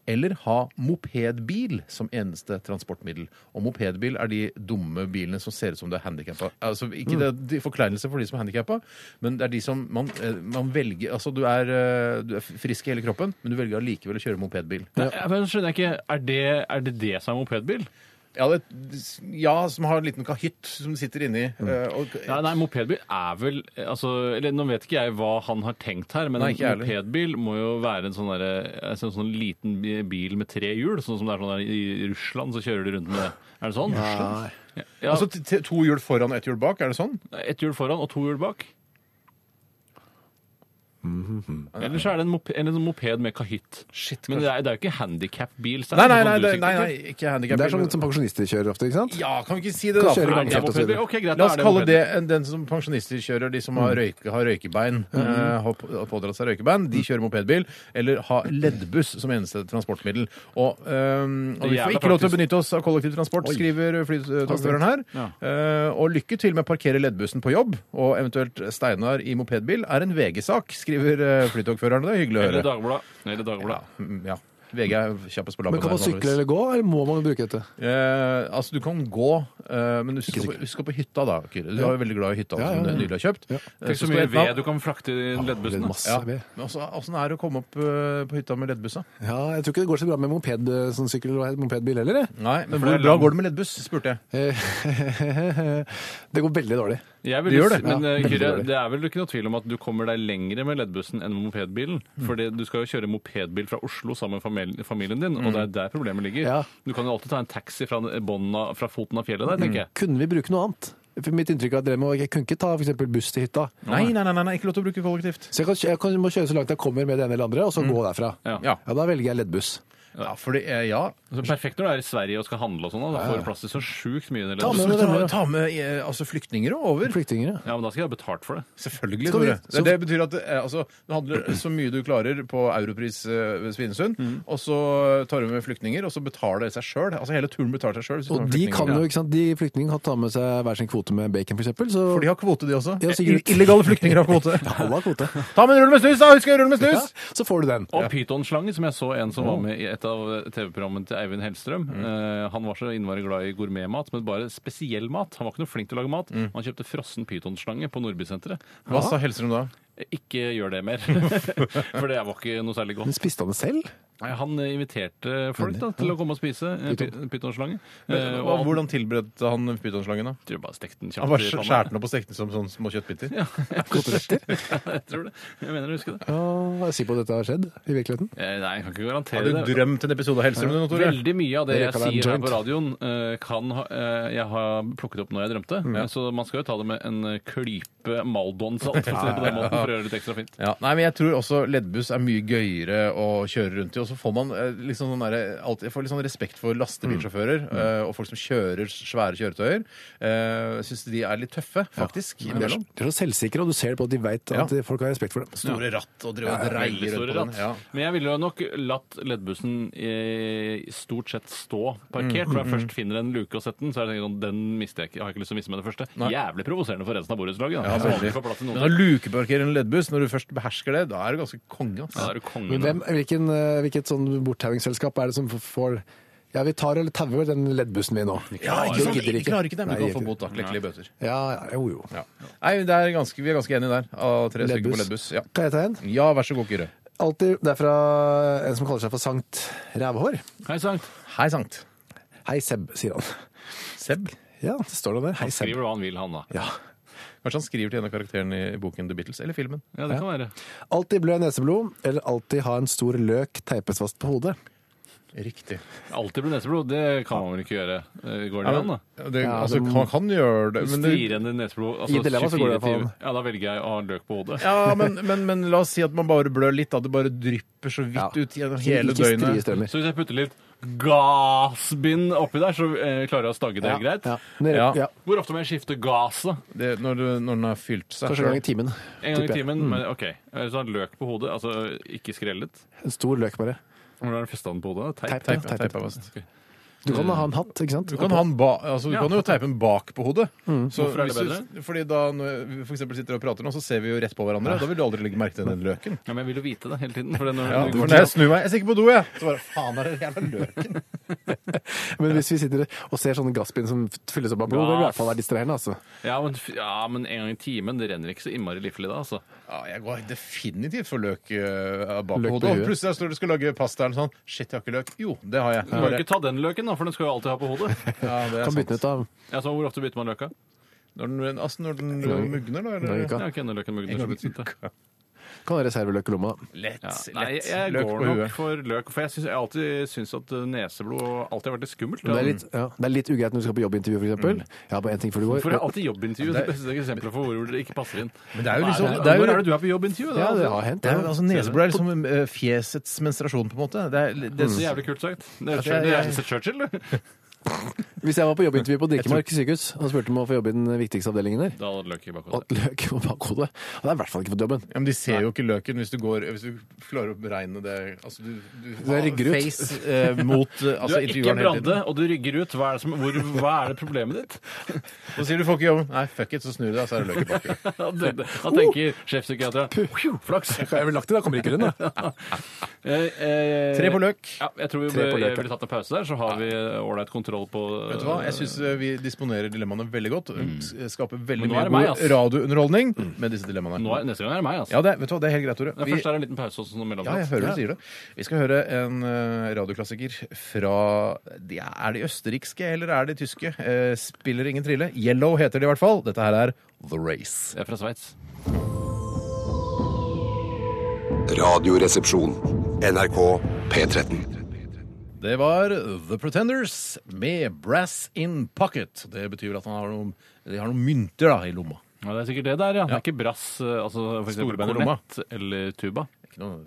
S2: eller ha mopedbil som eneste transportmiddel. Og mopedbil er de dumme bilene som ser ut som det er handikappa. Altså, ikke det, de forkleinelse for de som er handikappa, men det er de som man, eh, man velger Altså, du er, eh, du er frisk i hele kroppen, men du velger allikevel å kjøre mopedbil.
S3: Nei, men skjønner jeg ikke, er det, er det det som er mopedbil?
S2: Ja, det, ja, som har en liten kahytt som du sitter inni.
S4: Mm.
S2: eh, Og,
S3: Nei, nei, mopedbil er vel eh, altså, eller, Nå vet ikke jeg hva han har tenkt her, men
S2: Nei, ikke jeg
S3: en
S2: heller.
S3: mopedbil må jo være en sånn, derre- altså, en sånn liten bi- bil med tre hjul, sånn som det er sånn der i Russland, så kjører de rundt med det. Er det sånn? Ja, ja,
S2: Altså t- t- to hjul foran og ett hjul bak, er det sånn?
S3: ett hjul foran og to hjul bak. Eller så er det en, moped, en sånn moped med kahytt.
S2: Mhm. Shit,
S3: Men det er, det er jo ikke handikap-bil. så
S2: Nei,
S3: det
S2: nei,
S3: er
S2: nei,
S3: sånn
S2: nei,
S3: du
S2: nei,
S3: sikter
S2: nei
S3: til.
S2: ikke handikap.
S4: Det er sånn som pensjonister kjører ofte, ikke sant?
S2: Ja, kan vi ikke si det,
S4: Kan
S2: da?
S4: kjøre
S2: for-
S4: i
S3: Nei, det er
S4: og så
S3: mopedbil.
S4: videre.
S3: Ok, greit,
S2: La
S3: da
S2: oss
S3: er det Mm.
S2: kalle
S3: mopedbil.
S2: det en- den som pensjonister kjører, de som har, røyke, har røykebein,
S3: Mm.
S2: eh, har på- har pådratt seg røykebein, de kjører mopedbil, eller har leddbuss som eneste transportmiddel. Og, eh, og vi får
S3: Jævla
S2: ikke lov til å
S3: praktisk.
S2: benytte oss av kollektivtransport, skriver flytogføreren her. Eh, og lykke til med å parkere leddbussen på jobb, og eventuelt Steinar i mopedbil, er en VG-sak, skriver eh, flytogføreren. Det er hyggelig å høre.
S3: Eller Dagbladet. Eller Dagbladet.
S2: Mm, Ja. VG er kjappest på labben.
S4: Men kan man
S2: der,
S4: sykle
S2: vanligvis.
S4: eller gå, eller må man bruke dette?
S2: Eh, altså, du kan gå, eh, men husk på, husk på hytta, da, Kyrre. Du er jo veldig glad i hytta
S4: Ja, ja,
S2: som
S4: ja.
S2: du nylig har kjøpt. Eh, så
S3: Tenk så
S2: skal
S3: mye
S2: jeg ta-
S3: ved du kan frakte i leddbussen. da.
S4: Masse
S2: Ja.
S4: ved.
S2: Men også, Åssen er det å komme opp eh, på hytta med leddbussa?
S4: Ja, jeg tror ikke det går så bra med moped, sånn sykkel og mopedbil heller. jeg.
S2: Nei, men
S3: For
S2: hvor
S3: det er
S2: bra
S3: lang-
S2: går det med leddbuss? spurte jeg.
S4: Eh, det går veldig dårlig.
S3: Jeg vil,
S2: Det gjør det.
S3: Men
S4: Ja,
S3: eh,
S4: veldig
S3: Kyrre,
S4: dårlig.
S3: det er vel ikke noe tvil om at du kommer deg lengre med leddbussen enn med mopedbilen.
S4: Mm.
S3: For det- du skal jo kjøre mopedbil fra Oslo sammen med famil- familien din, og det er der problemet ligger.
S4: Mm. Ja.
S3: Du kan jo alltid ta en taxi fra, bånden av- fra foten av fjellet der,
S4: Mm.
S3: tenker jeg.
S4: Kunne vi bruke noe annet? For mitt inntrykk er at dere må, jeg kunne ikke ta for eksempel buss til hytta.
S2: Nei, nei, nei, nei, nei, ikke lov til å bruke kollektivt.
S4: Så jeg, kan, jeg kan, må kjøre så langt jeg kommer med det ene eller det andre, og så gå derfra.
S3: Ja.
S2: Mm. Ja.
S4: da velger jeg leddbuss.
S2: Ja, fordi, eh, ja.
S3: Så perfekt når du er i Sverige og skal handle og sånn. da. Da får du plass til så sjukt mye.
S4: Ta med
S2: Så
S4: deg
S2: ta,
S4: venner, da.
S2: Altså, ta med eh, altså, flyktninger over.
S4: Flyktninger, ja.
S3: Ja, men da skal jeg ha betalt for det.
S2: Selvfølgelig,
S4: Skal vi-
S2: Tore. Det,
S4: så-
S2: det betyr at eh, altså, du handler så mye du klarer på Europris eh, ved Svinesund,
S4: Mm.
S2: og så tar du med flyktninger, og så betaler det seg sjøl. Altså, hele turen betaler seg sjøl.
S4: Og de kan jo, ikke sant, de flyktningene kan ta med seg hver sin kvote med bacon, for eksempel. Så
S2: For de har kvote, de også.
S4: Ja, sikkert.
S2: Ill- Illegale flyktninger har kvote.
S4: alle har kvote.
S2: Ta med en rull med snus, da! Husk å rulle med
S4: Ja,
S2: snus!
S4: så får du den.
S3: Og pytonslange, som jeg så en som var med i et av TV-programmene til Eivind Hellstrøm.
S2: Mm.
S3: Eh, han var så innmari glad i gourmetmat, men bare spesiell mat. Han var ikke noe flink til å lage mat. Han kjøpte frossen pytonslange på Nordbysenteret.
S2: Mm.
S3: Eh,
S2: Hva sa Hellstrøm da?
S3: Ikke gjør det mer, for det var ikke noe særlig
S4: Men
S3: godt.
S4: spiste han det selv?
S3: Nei, Han inviterte folk da, til å komme og spise eh, py- pytonslange. Eh,
S2: Hva-
S3: og han
S2: Hvordan tilberedte han pytonslangen? da?
S3: tror jeg bare stekte den
S2: Han
S3: kjapt
S2: bare
S3: i
S2: skj-
S3: panna.
S2: skjærte den opp og stekte den som sånne små kjøttbiter?
S3: Jeg tror det. Jeg mener å huske det.
S4: Ja, jeg er sikker på at dette har skjedd i virkeligheten.
S3: Eh, Nei, jeg kan ikke garantere
S2: Har du
S3: det.
S2: drømt en episode av Hellstrøm du nå, Tore?
S3: Veldig mye av det
S4: Dere
S3: jeg
S4: kan være en
S3: sier her
S4: joint.
S3: på radioen, eh, kan ha, eh, jeg har plukket opp når jeg drømte.
S2: Mm.
S3: Eh, Så man skal jo ta det med en eh, klype Maldon-salt for å si det på den måten, for å gjøre det litt ekstra fint.
S2: Ja, nei, men Jeg tror også leddbuss er mye gøyere å kjøre rundt i. Og så får man eh, liksom sånn derre- alt- jeg får litt sånn respekt for lastebilsjåfører eh, og folk som kjører svære kjøretøyer. Eh, Jeg Syns de er litt tøffe, faktisk.
S4: De
S2: Imellom.
S4: er så selvsikre, og du ser det på at de veit at
S2: Ja.
S4: folk har respekt for dem.
S2: Store ratt og driver og
S3: Veldig
S2: dreier rundt
S3: store
S2: på den.
S3: ratt.
S2: Ja.
S3: Men jeg ville jo nok latt leddbussen eh, stort sett stå
S2: Mm,
S3: parkert. For jeg først finner en luke og setter den, så er det sånn, den mister jeg ikke. Jeg har ikke lyst til å miste med det første. Jævlig provoserende for resten av borettslaget. da.
S2: Ja,
S3: Så aldri
S2: veldig.
S3: får plass til
S2: Men
S3: noen
S2: å
S3: ting.
S2: lukeparkere en leddbuss når du først behersker det, da er du ganske konge. altså.
S3: Ja, da
S2: ass.
S3: er du kongen,
S4: Men
S3: da.
S4: hvem, hvilken, eh, hvilket sånn borttauingsselskap er det som f- får Ja, vi tar eller tauer den leddbussen min nå.
S2: Ja, sånn, ikke sant?
S4: Jeg gidder
S2: Jeg klarer ikke det, men
S4: Nei,
S2: du kan
S4: jeg
S2: få
S4: gidder
S2: bot, da. Klekkelige bøter.
S4: ikke. Ja, ja, jo, jo.
S2: Ja. Nei, det er ganske, vi er ganske enige der, av tre stykker på leddbuss.
S4: Leddbuss.
S2: Ja.
S4: Kan jeg ta en?
S2: ja, vær så god, Kyrre.
S4: Alltid, det er fra en som kaller seg for Sankt Rævhår.
S3: Hei, Sankt.
S2: Hei, Sankt.
S4: Hei, Seb, sier han.
S2: Seb.
S4: Ja, det står det der. Hei, Seb.
S3: Skriver hva han vil, han da.
S4: Ja.
S2: Kanskje han skriver til en av karakterene i boken The Beatles, eller filmen.
S3: Ja, det kan være.
S4: Alltid blø neseblod, eller alltid ha en stor løk teipes fast på hodet.
S2: Riktig.
S3: Alltid blir neseblod. Det kan man vel ikke gjøre. Eh, Går det an, da?
S2: Ja, det,
S4: Ja,
S2: altså,
S4: det-
S2: man kan gjøre det, men, det,
S3: Stirrende neseblod. Altså
S4: I dilemma så går
S3: 24
S4: det i hvert fall.
S3: timer. Ja, da velger jeg å ha løk på hodet.
S2: ja, men, men, men la oss si at man bare blør litt, da. Det bare drypper så
S4: Ja.
S2: vidt ut gjennom hele
S4: Ikke strie
S2: døgnet.
S4: strømmer.
S3: Så hvis jeg putter litt gassbind oppi der, så eh, klarer jeg å stagge det greit.
S4: Ja. Nere,
S2: Ja.
S4: ja.
S3: Hvor ofte må jeg skifte gass, da?
S2: Det, når, du, når den har fylt seg.
S4: Kanskje en gang i
S2: selv.
S4: timen.
S3: En gang i
S4: tipper jeg.
S3: timen? Men, OK. Eh, Så han løk på hodet, altså ikke skrellet.
S4: En stor løk, bare.
S3: Hvordan har du festa den på hodet? Teip?
S4: Teip,
S2: Teip,
S4: ja,
S2: teip,
S4: teip.
S2: er fast.
S4: Du kan ha en hatt, ikke sant?
S2: Du kan, ha en ba, altså, du
S3: Ja.
S2: kan jo teipe en bak på hodet.
S4: Mm.
S2: Så
S3: Hvorfor er det
S2: hvis du- Fordi da når vi for eksempel sitter og prater nå, så ser vi jo rett på hverandre.
S3: Ah.
S2: Da vil du aldri legge merke til den løken.
S3: Ja, men jeg vil jo vite det hele tiden. For det når
S2: Ja,
S3: du
S2: for
S3: går
S2: når jeg
S3: til
S2: snur meg Jeg stikker på do, jeg! Så bare faen er det jævla løken.
S4: Men hvis vi sitter og ser sånne gassbind som fylles opp av blod, det vil i hvert fall være distraherende, altså.
S3: ja, men, f- ja, men en gang i timen. Det renner ikke så innmari liflig da, altså.
S2: Ja, jeg går definitivt for løk eh, bak
S4: Løk på
S2: hodet. Og
S4: huet.
S2: plutselig står du skal lage pasta eller sånn. Shit, jeg har ikke løk. Jo, det har jeg.
S3: Du kan
S2: Bare-
S3: jo ikke ta den løken, da, for den skal jo alltid ha på hodet.
S2: Ja, det er
S4: Kan bytte
S2: sant.
S4: den ut av
S3: Ja, så Hvor ofte bytter man løka?
S2: Når den, altså når den
S4: gang-
S2: mugner, da?
S4: Nå,
S2: Eller?
S4: Erika.
S3: Ja, ikke enda løken mugner.
S2: En
S3: så
S2: gang i
S3: bytter man det.
S2: uka.
S4: Kan ha reserveløk i lomma. da.
S2: Lett.
S3: Ja.
S2: lett.
S3: Nei, jeg
S2: løk
S3: går
S2: på
S3: nok
S2: huet.
S3: for løk. For jeg, synes, jeg har alltid syns at eh, neseblod alltid har vært litt skummelt.
S4: Det
S3: Ja.
S4: er, litt, ja. det er litt ugreit når du skal på jobbintervju, for eksempel. Ja, bare en ting før du går.
S3: For det er alltid jobbintervju. Det beste eksempelet for hvor det ikke passer inn.
S2: Men det er jo
S3: Hva
S2: liksom-
S3: det,
S2: det er jo-
S3: Når er det du er på jobbintervju?
S4: Ja,
S3: er
S4: det
S3: alltid-
S4: har hendt.
S2: Det er,
S4: ja.
S2: altså, Neseblod er liksom eh, fjesets menstruasjon, på en måte. Det er,
S4: Mm.
S2: det,
S3: Så jævlig kult sagt. Det er,
S2: Mm. Altså, jeg-
S3: det er, det er Churchill, du.
S4: Hvis jeg var på jobbintervju på Dikemark sykehus og spurte om å få jobbe i den viktigste avdelingen der,
S3: Da hadde løk i bakhodet.
S4: og løk på bakhodet, hadde jeg i hvert fall ikke fått jobben.
S2: ja, men de ser jo ikke løken hvis du, går, hvis du klarer å beregne det altså, du, du,
S4: er rygger ut.
S2: Face eh, mot eh,
S3: Du
S2: altså,
S3: er ikke
S2: intervjueren hele
S3: Brande,
S2: tiden.
S3: og du rygger ut. Hva er det, som, hvor, hva er det problemet ditt?
S2: Så sier du 'får ikke jobben'. Nei, fuck it, så snur du deg, så er det løk i bakken.
S3: Han tenker-
S2: Uh!
S3: han tenker sjefpsykiateren.
S4: Flaks. Jeg ville lagt det, da kommer ikke rundt. da.
S3: Eh, eh,
S2: Tre på løk.
S3: Ja, jeg tror vi
S4: Tre på løk,
S3: bør-
S4: ja.
S3: ville tatt en pause der, så har vi eh, ålreit kontroll på
S2: Vet du hva? Jeg syns vi disponerer dilemmaene veldig godt. S- eh, Skaper veldig
S3: Mm. Men nå
S2: mye
S3: er det meg,
S2: god
S3: ass. Mm.
S2: radiounderholdning med disse dilemmaene.
S3: Nå er, Neste gang er det meg, altså.
S2: Ja, det, vet du hva, det er helt greit, Tore.
S3: Men
S2: Vi-
S3: Først er det en liten pause også, sånn
S2: ja, jeg
S3: mellomlåt.
S2: hører du sier det. Vi skal høre en eh, radioklassiker fra de, Er de østerrikske, eller er de tyske? Eh, spiller ingen trille. Yellow heter de i hvert fall. Dette her er The Race.
S3: Jeg er fra Sveits.
S5: Radioresepsjon. NRK P13.
S2: Det var The Pretenders med Brass in Pocket. Det betyr vel at han har noen, de har noen mynter da, i lomma.
S3: Ja, det er sikkert det der, ja. Det er ikke brass, eh, altså for eksempel
S2: Storkorona.
S3: kornett eller tuba.
S2: Ikke noe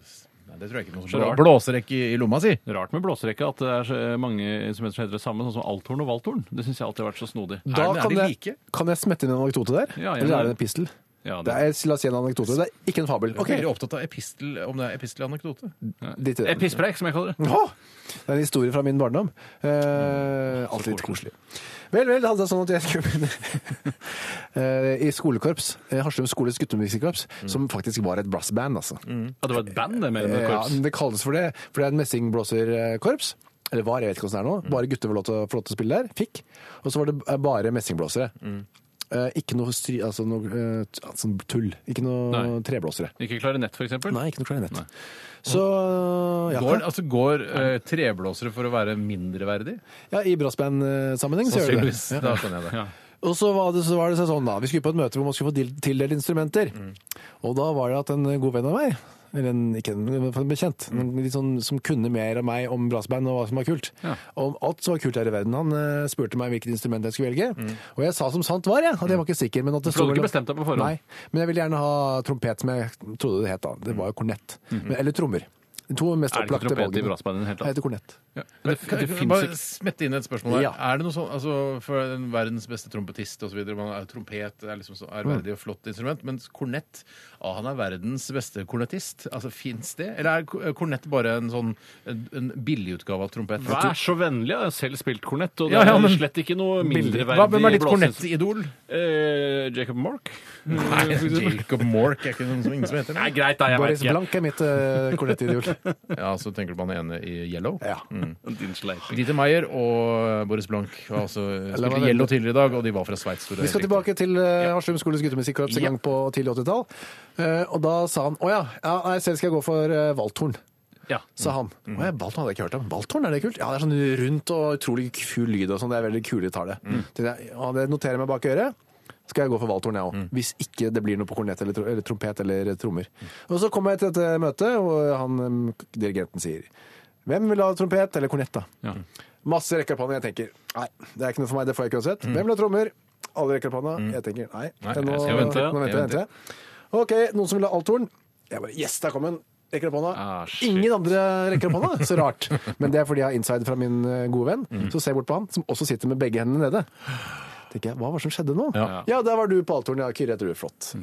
S2: Nei, det tror jeg ikke noe
S3: Så
S2: som
S3: rart.
S2: blåserekk i, i lomma si.
S3: Rart med blåserekka at det er så mange instrumenter som heter det samme, sånn som althorn og valthorn. Det syns jeg alltid har vært så snodig.
S2: Er
S4: Da
S2: den- er
S4: kan
S2: de
S4: jeg,
S2: like?
S4: kan jeg smette inn en anekdote der?
S3: Ja, gjerne
S4: Eller
S3: det.
S4: er det en epistel?
S3: Ja,
S4: Det er, la oss si en anekdote. Det er ikke en fabel.
S2: Jeg
S4: Ok,
S2: er veldig opptatt av epistel, om det er epistelanekdote.
S4: drit i det.
S3: Eh, Pisspreik, som jeg kaller det.
S4: Åh! Det er en historie fra min barndom. Eh, alltid litt koselig. Vel, vel, det hadde jeg sånn at jeg skulle begynne eh, i skolekorps. eh, Haslum skoles guttemusikkorps,
S3: Mm.
S4: som faktisk var et brassband, altså. Eh,
S3: Ja, det var et band, det, mer enn et
S4: Ja,
S3: Mm. korps.
S4: men det kalles for det, for det er en messingblåserkorps. Eller var, jeg vet ikke hvordan det er
S3: Mm.
S4: nå. Bare gutter var lov til, å- får lov til å spille der. Fikk. Og så var det eh, bare messingblåsere.
S3: Mm.
S4: Eh, ikke noe, stry, altså noe eh, t- altså tull. Ikke noe
S3: Nei.
S4: treblåsere.
S3: Ikke klarinett, for eksempel.
S4: Nei, ikke noe klarinett. Så ja,
S2: Går, altså, går eh, treblåsere for å være mindreverdig?
S4: ja, i brassband-sammenheng så gjør du det.
S2: Sannsynligvis. Da skjønner jeg det.
S4: Og så var det, så var det sånn da, vi skulle på et møte hvor man skulle få til- tildelt instrumenter.
S3: Mm.
S4: Og da var det at en god venn av meg, eller en, ikke en, men en bekjent,
S3: Mm.
S4: men litt sånn, som kunne mer av meg om brassband og hva som var kult, om alt som var kult her i verden, han eh, spurte meg hvilket instrument jeg skulle velge. Og jeg sa som sant var, jeg, at jeg var ikke sikker. Men at det
S3: For Mm. du hadde
S4: sto-
S3: ikke bestemt deg på forhånd?
S4: Nei, men jeg ville gjerne ha trompet, som jeg trodde det het da. Det var jo kornett. Men, eller trommer. De to mest
S3: Mhm. Er det ikke
S4: opplagte
S3: trompet i
S4: valgene.
S3: brassband i det hele tatt?
S4: Det heter kornett.
S3: Ja. Det, det,
S2: Kan jeg
S3: finnes
S2: bare
S3: ikke
S2: smette inn et spørsmål her?
S4: Ja.
S2: Er det noe sånn, altså For den verdens beste trompetist osv. Trompet det er liksom så ærverdig og flott instrument. Mens kornett ah, Han er verdens beste kornettist. Altså, Fins det? Eller er ko- kornett bare en sånn en, en billigutgave av trompet?
S3: Vær så vennlig, jeg har selv spilt kornett, og det
S2: Ja, ja, men-
S3: er slett ikke noe
S2: Hva, hvem er
S3: mindreverdig
S2: ditt kornettidol?
S3: Eh, Jacob Mork?
S2: Nei, Jacob Mork er ikke noen som ingen som heter
S3: Nei,
S2: det.
S3: greit, da, jeg
S4: Boris
S3: vet ikke.
S4: Blank er mitt uh, kornettideol.
S2: Ja, Så tenker du på han ene i Yellow?
S4: ja.
S3: Din sleiping.
S2: Dieter Meyer og Boris Blank var altså,
S4: meg
S2: spilte
S4: vente.
S2: Yellow tidligere i dag, og de var fra Sveits.
S4: Vi skal tilbake til uh, Haslum skoles guttemusikkorps en
S2: Ja.
S4: gang på tidlig 80-tall. Eh, og da sa han å ja, ja nei, selv skal jeg gå for uh, valthorn.
S3: Ja.
S4: Sa han. Mm. ja, Valthorn hadde jeg ikke hørt om. Valthorn, er det kult? Ja, det er sånn rundt og utrolig kul lyd og sånn. Det er veldig kule detaljer. Tenkte jeg, Ja, det noterer jeg meg bak øret. Skal jeg gå for valthorn, jeg òg. Hvis ikke det blir noe på kornett eller, tro- eller trompet eller trommer. Og så kommer jeg til dette møtet, og han, em, dirigenten sier Hvem vil ha trompet eller kornett, da?
S3: Ja.
S4: Masse rekker opp hånda. Jeg tenker nei, det er ikke noe for meg, det får jeg ikke uansett. Hvem vil ha trommer? Alle rekker opp hånda. Jeg tenker nei.
S2: Nei,
S4: nå,
S2: jeg skal
S3: vente, ja.
S4: Nå venter jeg,
S2: Jeg
S4: venter. jeg. OK, noen som vil ha althorn? Jeg bare Yes, der kom den! Rekker opp hånda.
S3: Ah, shit.
S4: Ingen andre rekker opp hånda, så rart. Men det er fordi jeg har inside fra min eh, gode venn.
S3: Mm.
S4: Så ser jeg bort på han, som også sitter med begge hendene nede. Tenker jeg, Hva var det som skjedde nå? Ja,
S2: Ja.
S4: der var du på althorn, ja, Kyrre. Jeg tror det er flott.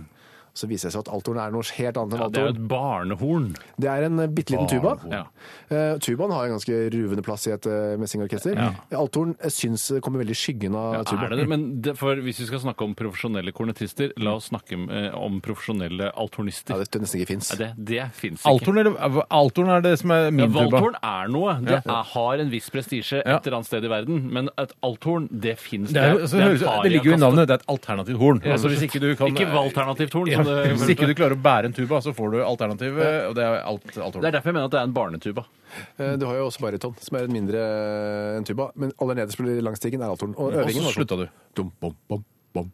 S4: Så viser det seg at althorn er noe helt annet enn
S3: Mm. Ja, det er jo
S4: valthorn.
S3: et barnehorn.
S4: Det er en eh, bitte liten tuba.
S3: Ja.
S4: Eh, tubaen har en ganske ruvende plass i et eh, messingarkester. Althorn eh, syns eh, kommer veldig i skyggen av
S3: Ja,
S4: tubaen.
S3: er det det? Men det, for hvis vi skal snakke om profesjonelle kornetister, la oss snakke eh, om profesjonelle
S4: Ja,
S3: altornister.
S4: det nesten ikke fins.
S3: Ja, det det fins ikke.
S2: Altorn, eller, Altorn er det som er
S3: Ja,
S2: min tuba.
S3: Valthorn er noe. Det
S2: Ja.
S3: er, har en viss prestisje et
S2: Ja.
S3: eller annet sted i verden. Men et althorn, det fins.
S2: Det, er, jo- altså, det, høres, det ligger jo i navnet. Det er et alternativt horn.
S3: Ja.
S2: Altså, hvis ikke du kan
S3: Ikke eh, valternativt horn.
S2: Ja,
S3: som det-
S2: hvis ikke du klarer å bære en tuba, så får du alternativ, eh, og det er alt, altorn.
S3: Det er derfor jeg mener at det er en barnetuba.
S4: Eh, Du har jo også bariton, som er en mindre eh, enn tuba. Men aller nederst på langs stigen er althorn. Og
S2: Og
S4: øvingen
S2: så
S4: var sånn.
S2: slutta du.
S4: Dum, bom, bom, bom,